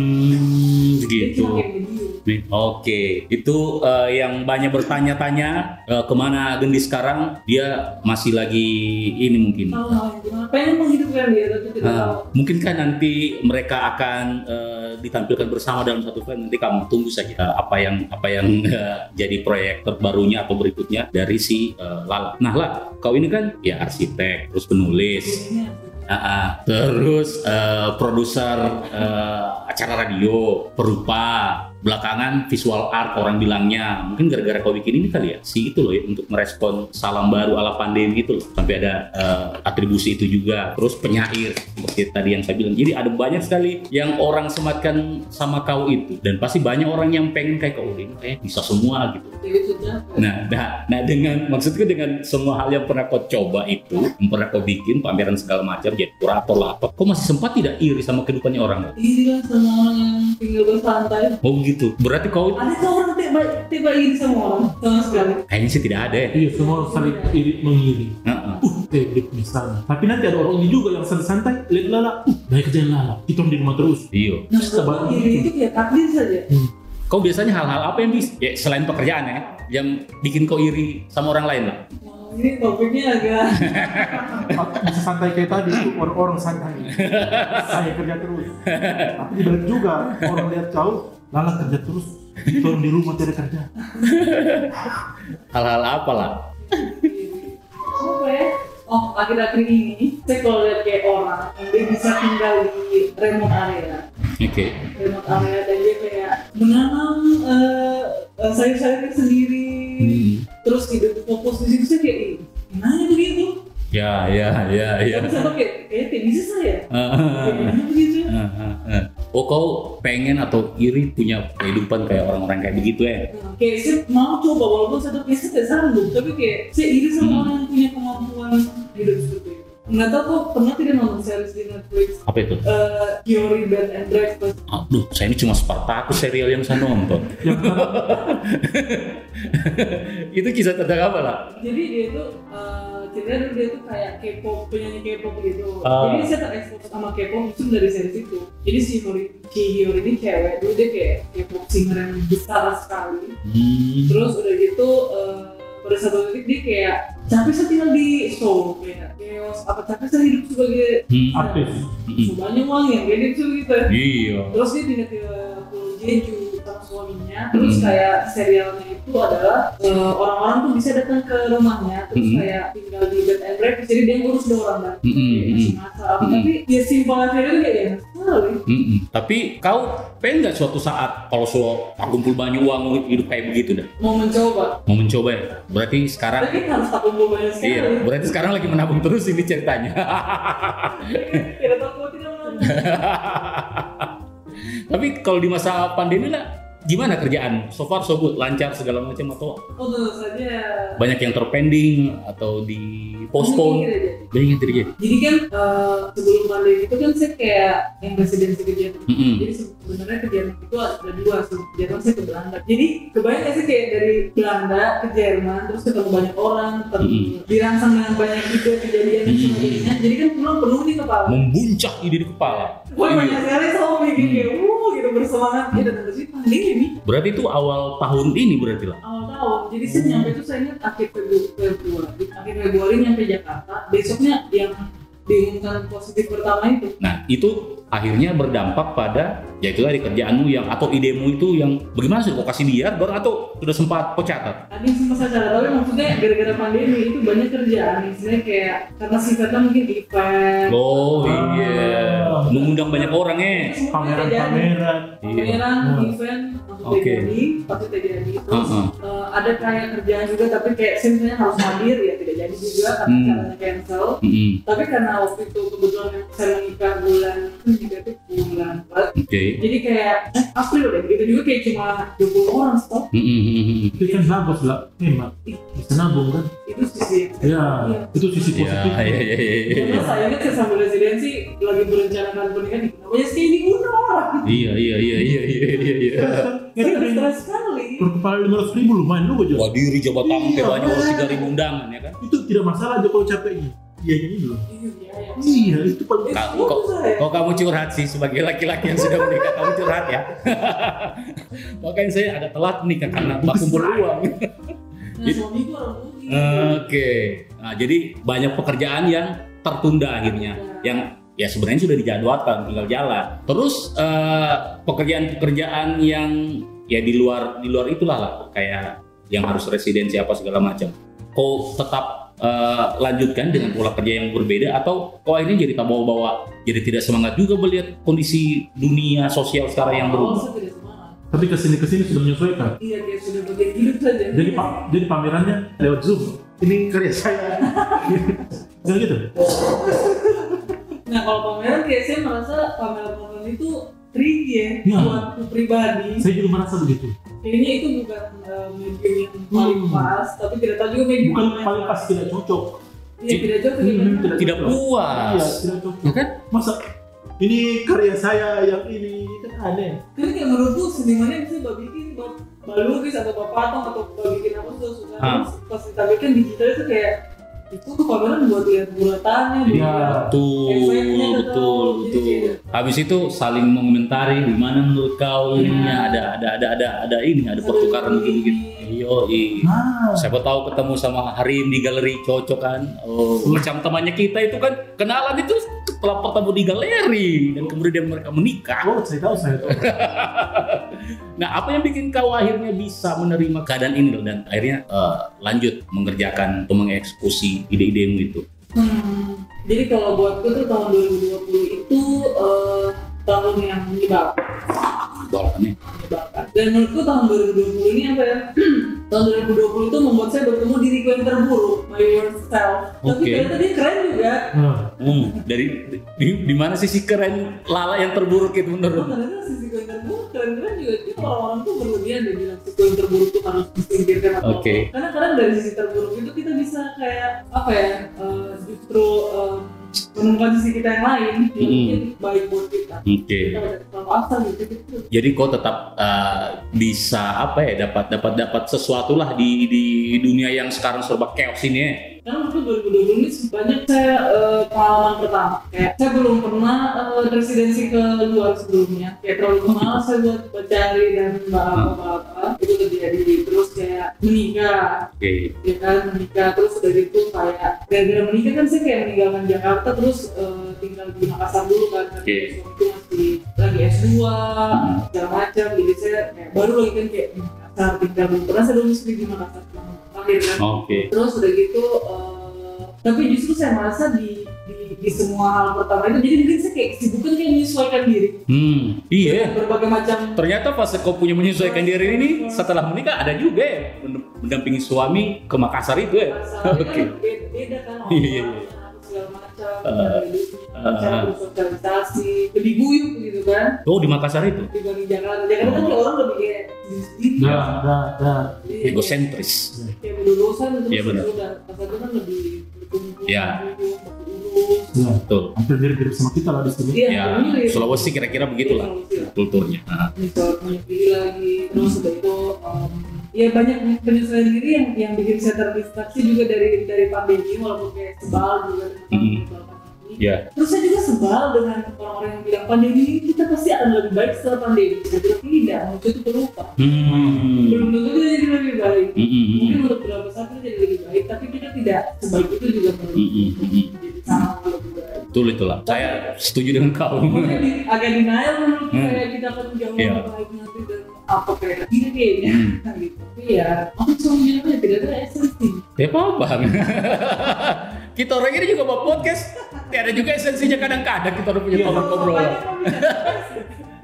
Speaker 2: Hmm,
Speaker 4: dia
Speaker 2: gitu.
Speaker 4: cuma kayak medium
Speaker 2: Nih, Oke, itu eh, yang banyak bertanya-tanya eh, kemana Gendi sekarang? Dia masih lagi ini mungkin.
Speaker 4: tahu mau yang gimana pengen menghidupkan dia tapi tidak
Speaker 2: Eh,
Speaker 4: tahu
Speaker 2: mungkinkah nanti mereka akan eh, ditampilkan bersama dalam satu film? Nanti kamu tunggu saja eh, apa yang apa yang eh, jadi proyek terbarunya atau berikutnya dari si eh, Lala. Nah, Lala, kau ini kan ya arsitek, terus penulis,
Speaker 4: dirinya
Speaker 2: Aa, Ah, terus eh, produser eh, acara radio, perupa, belakangan visual art orang bilangnya mungkin gara-gara kau bikin ini kali ya si itu loh ya untuk merespon salam baru ala pandemi itu loh sampai ada eh, atribusi itu juga terus penyair seperti tadi yang saya bilang jadi ada banyak sekali yang orang sematkan sama kau itu dan pasti banyak orang yang pengen kayak kau ini kayak bisa semua gitu
Speaker 4: Dewi sudah
Speaker 2: Nah, nah, nah dengan maksudku dengan semua hal yang pernah kau coba itu, yang pernah kau bikin pameran segala macam, jadi kurator lah apa, kau masih sempat tidak iri sama kehidupannya orang?
Speaker 4: irilah sama orang yang tinggal bersantai
Speaker 2: Oh gitu, berarti kau
Speaker 4: ada tuh orang tiba tiba iri sama orang sama sekali
Speaker 2: kayaknya sih tidak ada ya?
Speaker 3: Iya, semua saling iri mengiri.
Speaker 2: Heeh.
Speaker 3: Uh, tebrik misalnya. Tapi nanti ada orang ini juga yang santai-santai, lihat lala, uh, baik kerjaan lala. Kita di rumah terus. Hmm.
Speaker 2: Iya.
Speaker 4: nah
Speaker 3: Terus
Speaker 4: orang
Speaker 3: terbalik.
Speaker 4: iri itu kayak takdir saja
Speaker 2: Kau biasanya hal-hal apa yang bis ya, selain pekerjaan ya, yang bikin kau iri sama orang lain lah?
Speaker 4: Wah, ini topiknya agak
Speaker 5: bisa santai kayak tadi tuh orang-orang santai saya kerja terus tapi dibalik juga orang lihat jauh lala kerja terus turun di rumah tidak kerja
Speaker 2: Hal-hal apa lah?
Speaker 4: apa ya? Oh, akhir-akhir ini saya kalau lihat kayak orang yang dia bisa tinggal di remote area,
Speaker 2: Oke.
Speaker 4: remote area dan dia kayak menanam eh, eh, sayur-sayur sendiri,
Speaker 2: Hmm.
Speaker 4: terus hidup fokus di situ saya kayak "Ih, gimana begitu?
Speaker 2: Ya, ya, ya, ya.
Speaker 4: Tapi saya kayak kayak tidak bisa saya. ya?"
Speaker 2: Ah. Heeh.
Speaker 4: Gimana begitu?
Speaker 2: Heeh, heeh. Oh kau pengen atau iri punya kehidupan kayak orang-orang kayak begitu ya?
Speaker 4: Nah, Kayak saya mau coba walaupun saya tuh kayak saya tidak sanggup, tapi kayak saya iri sama
Speaker 2: Hmm.
Speaker 4: orang yang punya kemampuan hidup seperti itu. Nggak tahu kok pernah tidak nonton series di Netflix
Speaker 2: Apa itu?
Speaker 4: eh Theory Bed and Breakfast
Speaker 2: Aduh, saya ini cuma Spartacus serial yang saya nonton. itu kisah tentang apa lah?
Speaker 4: jadi dia itu eh, ceritanya dulu dia tuh kayak K-pop penyanyi K-pop gitu
Speaker 2: Ah.
Speaker 4: jadi saya terekspos sama K-pop itu dari series itu jadi si Hori Ki Hiyori ini cewek dulu dia kayak K-pop singer yang besar sekali
Speaker 2: Hmm.
Speaker 4: terus udah gitu eh, pada satu titik dia kayak capek saya tinggal di Seoul kayak chaos apa capek saya hidup sebagai
Speaker 2: Hmm.
Speaker 3: Artis.
Speaker 2: Hmm.
Speaker 4: semuanya uang ya kayak gitu gitu
Speaker 2: Iya.
Speaker 4: terus dia pindah ke Pulau Jeju sama suaminya
Speaker 2: Hmm.
Speaker 4: terus kayak serialnya itu adalah eh, orang-orang tuh bisa datang ke rumahnya terus
Speaker 2: Hmm.
Speaker 4: kayak tinggal di bed and breakfast jadi dia ngurus dua orang kan
Speaker 2: Hmm, hmm,
Speaker 4: masih masak apa tapi ya simpel aja itu kayak ya sekali
Speaker 2: Mm-mm. Hmm. Tapi kau pengen nggak suatu saat kalau so tak kumpul banyak uang hidup kayak begitu dah?
Speaker 4: mau mencoba
Speaker 2: Mau mencoba ya? Berarti sekarang
Speaker 4: tapi harus tak kumpul banyak sekali
Speaker 2: Iya, berarti sekarang lagi menabung terus ini ceritanya.
Speaker 4: Iya, tidak tahu kalau tidak mau
Speaker 2: Tapi kalau di masa pandemi lah, gimana kerjaan? So far so good, lancar segala macam atau
Speaker 4: oh tentu saja
Speaker 2: banyak yang terpending atau di postpone?
Speaker 4: Mikir gitu aja.
Speaker 2: Banyak yang terjadi.
Speaker 4: jadi kan eh, sebelum pandemi itu kan saya kayak yang residensi kegiatan
Speaker 2: Mm-mm.
Speaker 4: Jadi sebenarnya kegiatan itu ada dua, sebelum ke Jerman saya ke Belanda. Jadi kebayang sih kayak dari Belanda ke Jerman, terus ketemu banyak orang, ketemu dirangsang dengan banyak ide kejadian dan sebagainya. Jadi kan pulang penuh di kepala.
Speaker 2: membuncah ide di kepala.
Speaker 4: Wah banyak sekali sama bikin kayak wuh gitu bersemangat ya dan terus ini pandemi nih
Speaker 2: Berarti itu awal tahun ini berarti lah.
Speaker 4: awal tahun. Jadi saya nyampe itu saya ingat akhir Febru- Februari, akhir Februari nyampe Jakarta. Besoknya yang diumumkan positif pertama itu
Speaker 2: Nah, itu akhirnya berdampak pada ya itu tadi kerjaanmu yang atau idemu itu yang bagaimana sudah kau kasih liar baru atau sudah sempat kau catat.
Speaker 4: Tadi sempat saya sadar, tapi maksudnya gara-gara pandemi itu banyak kerjaan Misalnya kayak karena sifatnya mungkin event
Speaker 2: Oh iya,
Speaker 5: Ah.
Speaker 2: mengundang banyak orang eh.
Speaker 4: Semua terjadi.
Speaker 5: pameran-pameran
Speaker 4: Pameran,
Speaker 5: Iya.
Speaker 4: event, maksudnya
Speaker 2: Oke.
Speaker 4: jadi, maksudnya jadi Terus
Speaker 2: Heeh.
Speaker 4: eh, ada kayak kerjaan juga, tapi kayak simpelnya harus hadir ya tidak jadi juga karena
Speaker 2: Hmm.
Speaker 4: karena cancel
Speaker 2: Mm-mm.
Speaker 4: tapi karena waktu itu kebetulan saya menikah bulan negatif bulan Maret.
Speaker 2: Oke.
Speaker 4: jadi kayak eh, April udah gitu juga kayak cuma 20 orang stop
Speaker 2: Mm-mm.
Speaker 5: itu kan bagus lah hemat bisa nabung kan
Speaker 4: itu sisi
Speaker 5: ya
Speaker 4: Iya.
Speaker 5: itu sisi
Speaker 2: Ya,
Speaker 5: positif
Speaker 2: ya, ya,
Speaker 5: Iya.
Speaker 2: ya, ya.
Speaker 4: Karena sayangnya saya sambil residensi lagi berencanakan pernikahan namanya sih ini udah orang
Speaker 2: Iya, iya, iya, iya, iya, iya, iya.
Speaker 5: Jadi ada Iya, yang
Speaker 4: stres sekali
Speaker 5: per kepala lima ratus ribu lumayan lu aja
Speaker 2: Wah diri jabat tangan
Speaker 5: Iya,
Speaker 2: banyak harus
Speaker 5: bener.
Speaker 2: tiga ribu undangan ya kan?
Speaker 5: itu tidak masalah aja kalau capeknya iya ini belum
Speaker 4: iya ya
Speaker 5: iya itu paling
Speaker 4: itu
Speaker 2: Kak,
Speaker 4: kok
Speaker 2: kok- Kalau Oh, kamu curhat sih sebagai laki-laki yang sudah menikah kamu curhat ya. Makanya saya agak telat menikah karena nggak kumpul uang.
Speaker 4: nah suami gua orang Bugis.
Speaker 5: Eh,
Speaker 2: Oke, nah, jadi banyak pekerjaan yang tertunda akhirnya, yang ya sebenarnya sudah dijadwalkan tinggal jalan. Terus eh, pekerjaan-pekerjaan yang ya di luar di luar itulah lah, kayak yang harus residensi apa segala macam. Kau tetap eh, lanjutkan dengan pola kerja yang berbeda atau kau akhirnya jadi tak bawa-bawa, jadi tidak semangat juga melihat kondisi dunia sosial sekarang yang
Speaker 4: Awal
Speaker 2: berubah.
Speaker 4: saya tidak semangat.
Speaker 5: tapi kesini kesini sudah menyesuaikan
Speaker 4: iya kayak sudah kan bagian hidup saja
Speaker 5: jadi pak jadi pamerannya lewat zoom ini karya saya nggak gitu
Speaker 4: nah kalau pameran kayak saya merasa pameran-pameran itu tricky ya
Speaker 5: Iya.
Speaker 4: buat aku pribadi
Speaker 5: saya juga merasa begitu
Speaker 4: kayaknya itu bukan eh, medium yang paling
Speaker 5: Hmm.
Speaker 4: pas tapi tidak tahu juga medium
Speaker 5: bukan
Speaker 4: yang
Speaker 5: paling pas tidak cocok
Speaker 4: iya tidak jauh tidak
Speaker 5: Hmm,
Speaker 4: jauh.
Speaker 2: Tidak
Speaker 5: iya
Speaker 2: puas,
Speaker 5: tidak cocok
Speaker 2: ya kan?
Speaker 5: masa ini karya saya yang ini kan aneh
Speaker 4: Karena kayak menurutku senimannya bisa mbak bikin mbak mbak lukis atau mbak patung atau mbak bikin apa tuh suka
Speaker 2: Ah.
Speaker 4: Terus pas ditampilkan digital itu kayak itu pameran buat lihat bulatannya
Speaker 5: Iya.
Speaker 2: Betul,
Speaker 4: Efeknya
Speaker 2: betul,
Speaker 4: tetap,
Speaker 2: betul.
Speaker 4: jadi-
Speaker 2: Habis itu saling mengomentari gimana menurut kau ini
Speaker 4: Iya.
Speaker 2: ada ada ada ada ada ini ada pertukaran
Speaker 4: Ada ini.
Speaker 2: begini-begini. Iyo, i.
Speaker 5: nah
Speaker 2: Siapa tahu ketemu sama Harim di galeri cocok kan? Oh, macam temannya kita itu kan kenalan itu setelah pertemu di galeri dan kemudian mereka menikah.
Speaker 5: oh saya tahu saya tahu
Speaker 2: Nah, apa yang bikin kau akhirnya bisa menerima keadaan ini loh dan akhirnya eh, lanjut mengerjakan atau mengeksekusi ide-idemu itu?
Speaker 4: Hmm, jadi kalau buatku tuh tahun 2020 itu eh, tahun yang menyebabkan
Speaker 2: Balapannya.
Speaker 4: menyebabkan. Dan menurutku tahun 2020 ini apa ya? tahun 2020 itu membuat saya bertemu diriku yang terburuk, my worst self. Tapi
Speaker 2: Oke.
Speaker 4: ternyata dia keren juga.
Speaker 5: nah,
Speaker 2: Hmm, dari di- di, di mana sisi keren lala yang terburuk itu
Speaker 4: Oh,
Speaker 2: menurut?
Speaker 4: ternyata sisi gue yang terburuk keren-keren juga. Jadi orang-orang tuh berlebihan dan bilang sisi gue yang terburuk tuh harus disingkirkan atau
Speaker 2: Oke.
Speaker 4: Karena kadang dari sisi terburuk itu kita bisa kayak apa ya? eh, justru eh, menemukan sisi kita yang lain yang
Speaker 2: Mm-mm.
Speaker 4: mungkin baik buat kita.
Speaker 2: Oke.
Speaker 4: Kita udah terlalu asal gitu. gitu.
Speaker 2: Jadi kau tetap uh, bisa apa ya dapat dapat dapat sesuatu lah di di dunia yang sekarang serba chaos ini. ya.
Speaker 4: Karena waktu 2020 ini banyak saya eh, pengalaman pertama. Kayak saya belum pernah eh, residensi ke luar sebelumnya. Kayak terlalu mahal saya buat mencari dan eh, apa-apa itu terjadi. Terus kayak menikah,
Speaker 2: Oke.
Speaker 4: ya kan menikah terus udah gitu kayak gara-gara menikah kan saya kayak meninggalkan Jakarta terus eh, tinggal di Makassar dulu kan karena
Speaker 2: Oke.
Speaker 4: suami itu masih lagi S2
Speaker 2: Hmm.
Speaker 4: segala macam jadi saya kayak baru lagi kan kayak di Makassar tinggal belum pernah saya dulu sendiri di Makassar selama terakhir kan
Speaker 2: Oke.
Speaker 4: terus udah gitu eh, tapi justru saya merasa di, di di semua hal pertama itu jadi mungkin saya kayak kesibukan kayak menyesuaikan diri
Speaker 2: Hmm. Iya.
Speaker 4: berbagai macam
Speaker 2: Ternyata pas kau punya menyesuaikan diri ini setelah menikah ada juga ya mendampingi suami ke Makassar itu ya.
Speaker 4: Masalahnya
Speaker 2: Oke.
Speaker 4: kan beda, beda kan
Speaker 2: Iya, iya,
Speaker 4: orang-orang, segala macam
Speaker 2: Eh,
Speaker 4: cara cara
Speaker 2: eh.
Speaker 4: bersosialisasi lebih guyup gitu kan
Speaker 2: Oh di Makassar itu.
Speaker 4: dibanding Jakarta Jakarta kan kayak orang lebih kayak sendiri
Speaker 2: Iya.
Speaker 5: dah
Speaker 3: Nah.
Speaker 5: dah dah
Speaker 2: Egosentris.
Speaker 4: kayak gitu, berlulusan terus
Speaker 2: Iya, benar.
Speaker 4: udah Jakarta kan lebih berkumpul
Speaker 2: Iya.
Speaker 4: berkumpul, berkumpul.
Speaker 5: ya
Speaker 2: Betul.
Speaker 5: hampir mirip-mirip sama kita lah di sini
Speaker 4: Iya,
Speaker 2: Ya
Speaker 4: mirip. Iya,
Speaker 2: Sulawesi kira-kira begitulah
Speaker 4: Sulawesi lah.
Speaker 2: kulturnya. Ah.
Speaker 4: Gitu, banyak diri lagi terus udah itu em, ya banyak penyesuaian diri yang yang bikin saya terdistraksi juga dari dari pandemi walaupun kayak sebal juga dengan
Speaker 2: Mm-mm.
Speaker 4: pandemi ini.
Speaker 2: Ya.
Speaker 4: Terus saya juga sebal dengan orang-orang yang bilang pandemi ini kita pasti akan lebih baik setelah pandemi. Saya bilang tidak, manusia itu pelupa. Belum
Speaker 2: Hmm.
Speaker 4: tentu kita jadi lebih baik.
Speaker 2: Hmm, hmm, hmm.
Speaker 4: Mungkin untuk
Speaker 2: Hmm.
Speaker 4: beberapa saat kita jadi lebih baik, tapi kita tidak sebaik itu juga belum
Speaker 2: Mm-mm.
Speaker 4: tentu jadi sama lebih baik.
Speaker 2: betul itulah saya setuju dengan kau
Speaker 4: Makanya di, agak denial menurut
Speaker 2: Hmm.
Speaker 4: kayak kita akan jauh
Speaker 2: Iya.
Speaker 4: lebih baik nanti dan apa kayak gini kayaknya
Speaker 2: Hmm.
Speaker 4: gitu. Tapi ya, aku cuma bilang aja tidak ada esensi.
Speaker 2: ya paham kita orang ini juga buat podcast ya ada juga esensinya kadang-kadang kita udah punya
Speaker 5: Iya,
Speaker 2: topik obrolan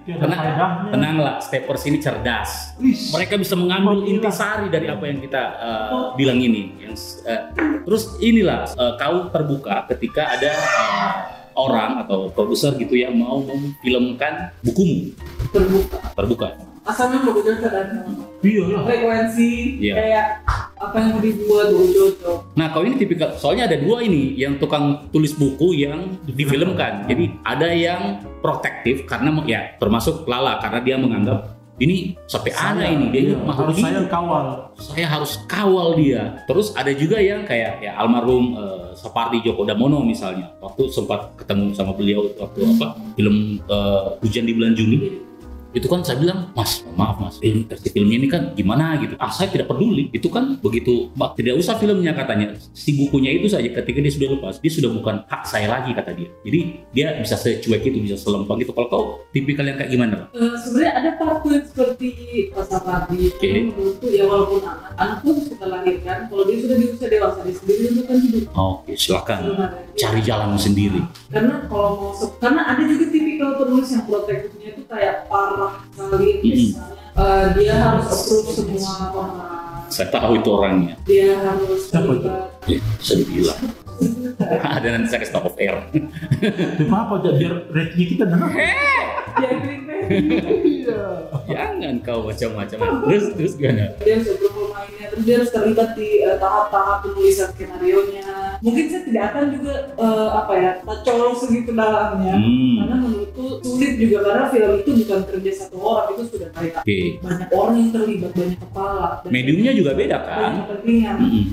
Speaker 5: Tiada
Speaker 2: tenang
Speaker 5: faedahnya.
Speaker 2: tenanglah steppers ini cerdas
Speaker 5: Please.
Speaker 2: mereka bisa mengambil
Speaker 5: Alhamdulillah.
Speaker 2: intisari dari apa yang kita uh, bilang ini yang uh, terus inilah uh, kau terbuka ketika ada uh, orang atau produser gitu yang mau memfilmkan bukumu
Speaker 4: Terbuka.
Speaker 2: terbuka
Speaker 4: Asalnya mau cocok dan
Speaker 5: Iya lah.
Speaker 4: frekuensi
Speaker 2: Iya.
Speaker 4: kayak apa yang mau dibuat gitu. udah cocok.
Speaker 2: Nah, kau ini tipikal, soalnya ada dua ini yang tukang tulis buku yang
Speaker 5: Hmm.
Speaker 2: difilmkan. Jadi ada yang protektif karena ya termasuk Lala karena dia menganggap ini sampai ana ini dia ini
Speaker 5: Iya,
Speaker 2: makhluk
Speaker 5: harus saya
Speaker 2: hidup.
Speaker 5: kawal.
Speaker 2: Saya harus kawal dia. Terus ada juga yang kayak ya almarhum eh, Sapardi Djoko Damono misalnya. Waktu sempat ketemu sama beliau waktu apa film eh, Hujan di bulan Juni itu kan saya bilang mas maaf mas film versi filmnya ini kan gimana gitu ah saya tidak peduli itu kan begitu Mbak, tidak usah filmnya katanya si bukunya itu saja ketika dia sudah lepas dia sudah bukan hak saya lagi kata dia jadi dia bisa secuek itu bisa selempang gitu kalau kau tipikal yang kayak gimana Pak?
Speaker 4: Eh, sebenarnya ada part yang seperti rasa tadi
Speaker 2: Oke.
Speaker 4: okay. menurutku ya walaupun anak anak pun kita lahirkan kalau dia sudah di usia dewasa dia sendiri tentukan hidup
Speaker 2: oke silakan
Speaker 4: sebenarnya.
Speaker 2: cari jalanmu sendiri
Speaker 4: karena kalau mau se- karena ada juga tipikal penulis yang protektifnya itu kayak parah
Speaker 2: Hmm.
Speaker 4: sekali misalnya eh, dia harus approve semua orang
Speaker 2: saya tahu itu orangnya
Speaker 4: dia harus
Speaker 5: Siapa itu?
Speaker 4: terlibat.
Speaker 2: ya, bisa dibilang ada nanti saya kasih tahu off air
Speaker 5: Kenapa aja biar ratingnya kita naik?
Speaker 4: dia green
Speaker 2: jangan kau macam-macam terus terus gimana
Speaker 4: dia harus approve pemainnya terus dia harus terlibat di eh, tahap-tahap penulisan skenario nya mungkin saya tidak akan juga eh, apa ya tak colong segitu dalamnya
Speaker 2: hmm
Speaker 4: karena menurutku sulit juga karena film itu bukan kerja satu orang itu sudah kayak
Speaker 2: oke
Speaker 4: banyak orang yang terlibat banyak kepala dan
Speaker 2: mediumnya juga beda kan
Speaker 4: banyak kepentingan
Speaker 2: Mm-mm.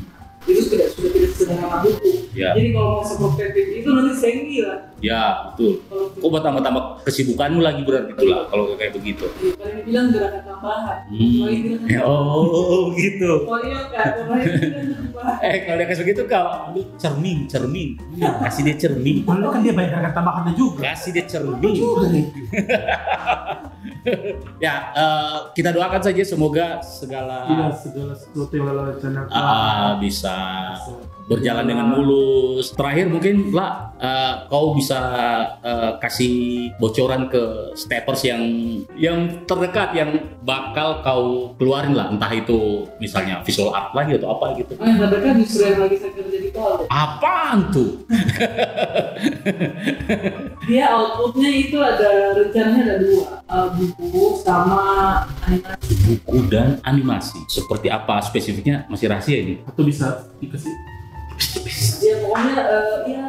Speaker 4: itu sudah sudah tidak sederhana buku.
Speaker 2: Ya.
Speaker 4: Jadi kalau mau seprotektif itu nanti senggi lah.
Speaker 2: Ya, betul.
Speaker 4: Kalau
Speaker 2: Kok buat tambah-tambah kesibukanmu lagi berarti itulah kalau kayak begitu.
Speaker 4: ya, kalian bilang gerakan tambahan. Kalau ini
Speaker 2: Hmm.
Speaker 4: gerakan
Speaker 2: Oh, gitu.
Speaker 4: Oh iya kak, kalau ini gerakan tambahan.
Speaker 2: Eh, kalau dia kayak begitu kau ambil cermin, cermin. Kasih dia cermin.
Speaker 5: Padahal kan dia banyak akan tambahannya juga.
Speaker 2: Kasih dia
Speaker 5: Itu
Speaker 2: cermin.
Speaker 5: juga nih.
Speaker 2: Iya. Ya, eh, kita doakan saja semoga segala
Speaker 5: Iya segala sesuatu yang lelah rencanakan.
Speaker 2: ah, bisa berjalan
Speaker 3: Iya.
Speaker 2: dengan mulus. Terakhir mungkin lah eh, kau bisa eh, kasih bocoran ke steppers yang yang terdekat yang bakal kau keluarin lah entah itu misalnya visual art lagi atau apa gitu.
Speaker 4: Oh yang terdekat justru yang lagi saya kerja di Palu.
Speaker 2: Apaan tuh?
Speaker 4: Dia outputnya itu ada rencananya ada dua Eh, buku sama animasi.
Speaker 2: Buku dan animasi. Seperti apa spesifiknya masih rahasia ini?
Speaker 5: Atau bisa dikasih
Speaker 4: Ya pokoknya eh, ya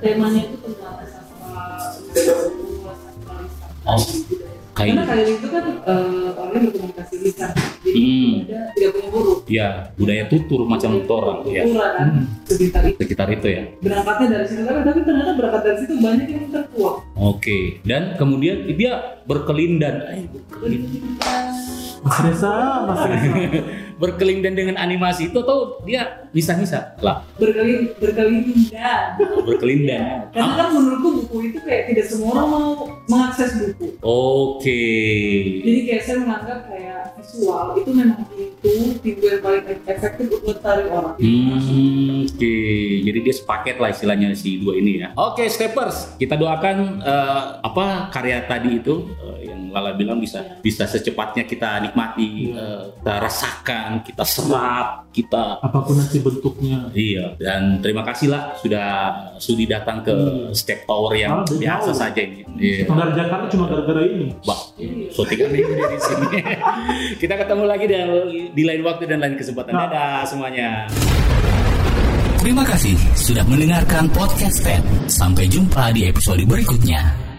Speaker 4: temanya itu tentang sastra budaya Papua, sastra
Speaker 2: Oh,
Speaker 4: lisan, budaya. Karena
Speaker 2: Kayak
Speaker 4: kalian itu kan eh, orangnya berkomunikasi lisan, jadi
Speaker 2: Hmm.
Speaker 4: ada tidak punya huruf.
Speaker 2: ya budaya tutur macam torang ya
Speaker 4: Kultura kan, sekitar itu.
Speaker 2: sekitar itu ya.
Speaker 4: Berangkatnya dari situ, tapi, tapi ternyata berangkat dari situ banyak yang terkuak.
Speaker 2: Oke. Dan kemudian dia berkelindan. Eh, berkelindan.
Speaker 5: Mas Reza, Mas Reza.
Speaker 2: berkelindan dengan animasi itu atau dia bisa-bisa lah
Speaker 4: Berkeli berkelindan.
Speaker 2: berkelindan.
Speaker 4: Karena kan menurutku buku itu kayak tidak semua orang mau mengakses buku.
Speaker 2: Oke.
Speaker 4: Jadi kayak saya menganggap kayak visual itu memang itu pintu yang paling efektif untuk tarik orang.
Speaker 2: Hmm, Oke, jadi dia sepaket lah istilahnya si dua ini ya. Oke, steppers, kita doakan eh, apa karya tadi itu eh, yang Lala bilang bisa bisa secepatnya kita nikmati, eh, kita rasakan, kita serap, kita
Speaker 5: Apapun nanti bentuknya.
Speaker 2: Iya, dan terima kasih lah sudah sudi datang ke Step Tower yang
Speaker 5: Ah, udah
Speaker 2: biasa
Speaker 5: jauh.
Speaker 2: saja ini. Iya.
Speaker 5: Dari Jakarta cuma gara-gara ini.
Speaker 2: Wah, syuting minggu dari sini. Kita ketemu lagi dan- di lain waktu dan lain kesempatan.
Speaker 1: Nah.
Speaker 2: Dadah semuanya.
Speaker 1: Terima kasih sudah mendengarkan podcast Step. Sampai jumpa di episode berikutnya.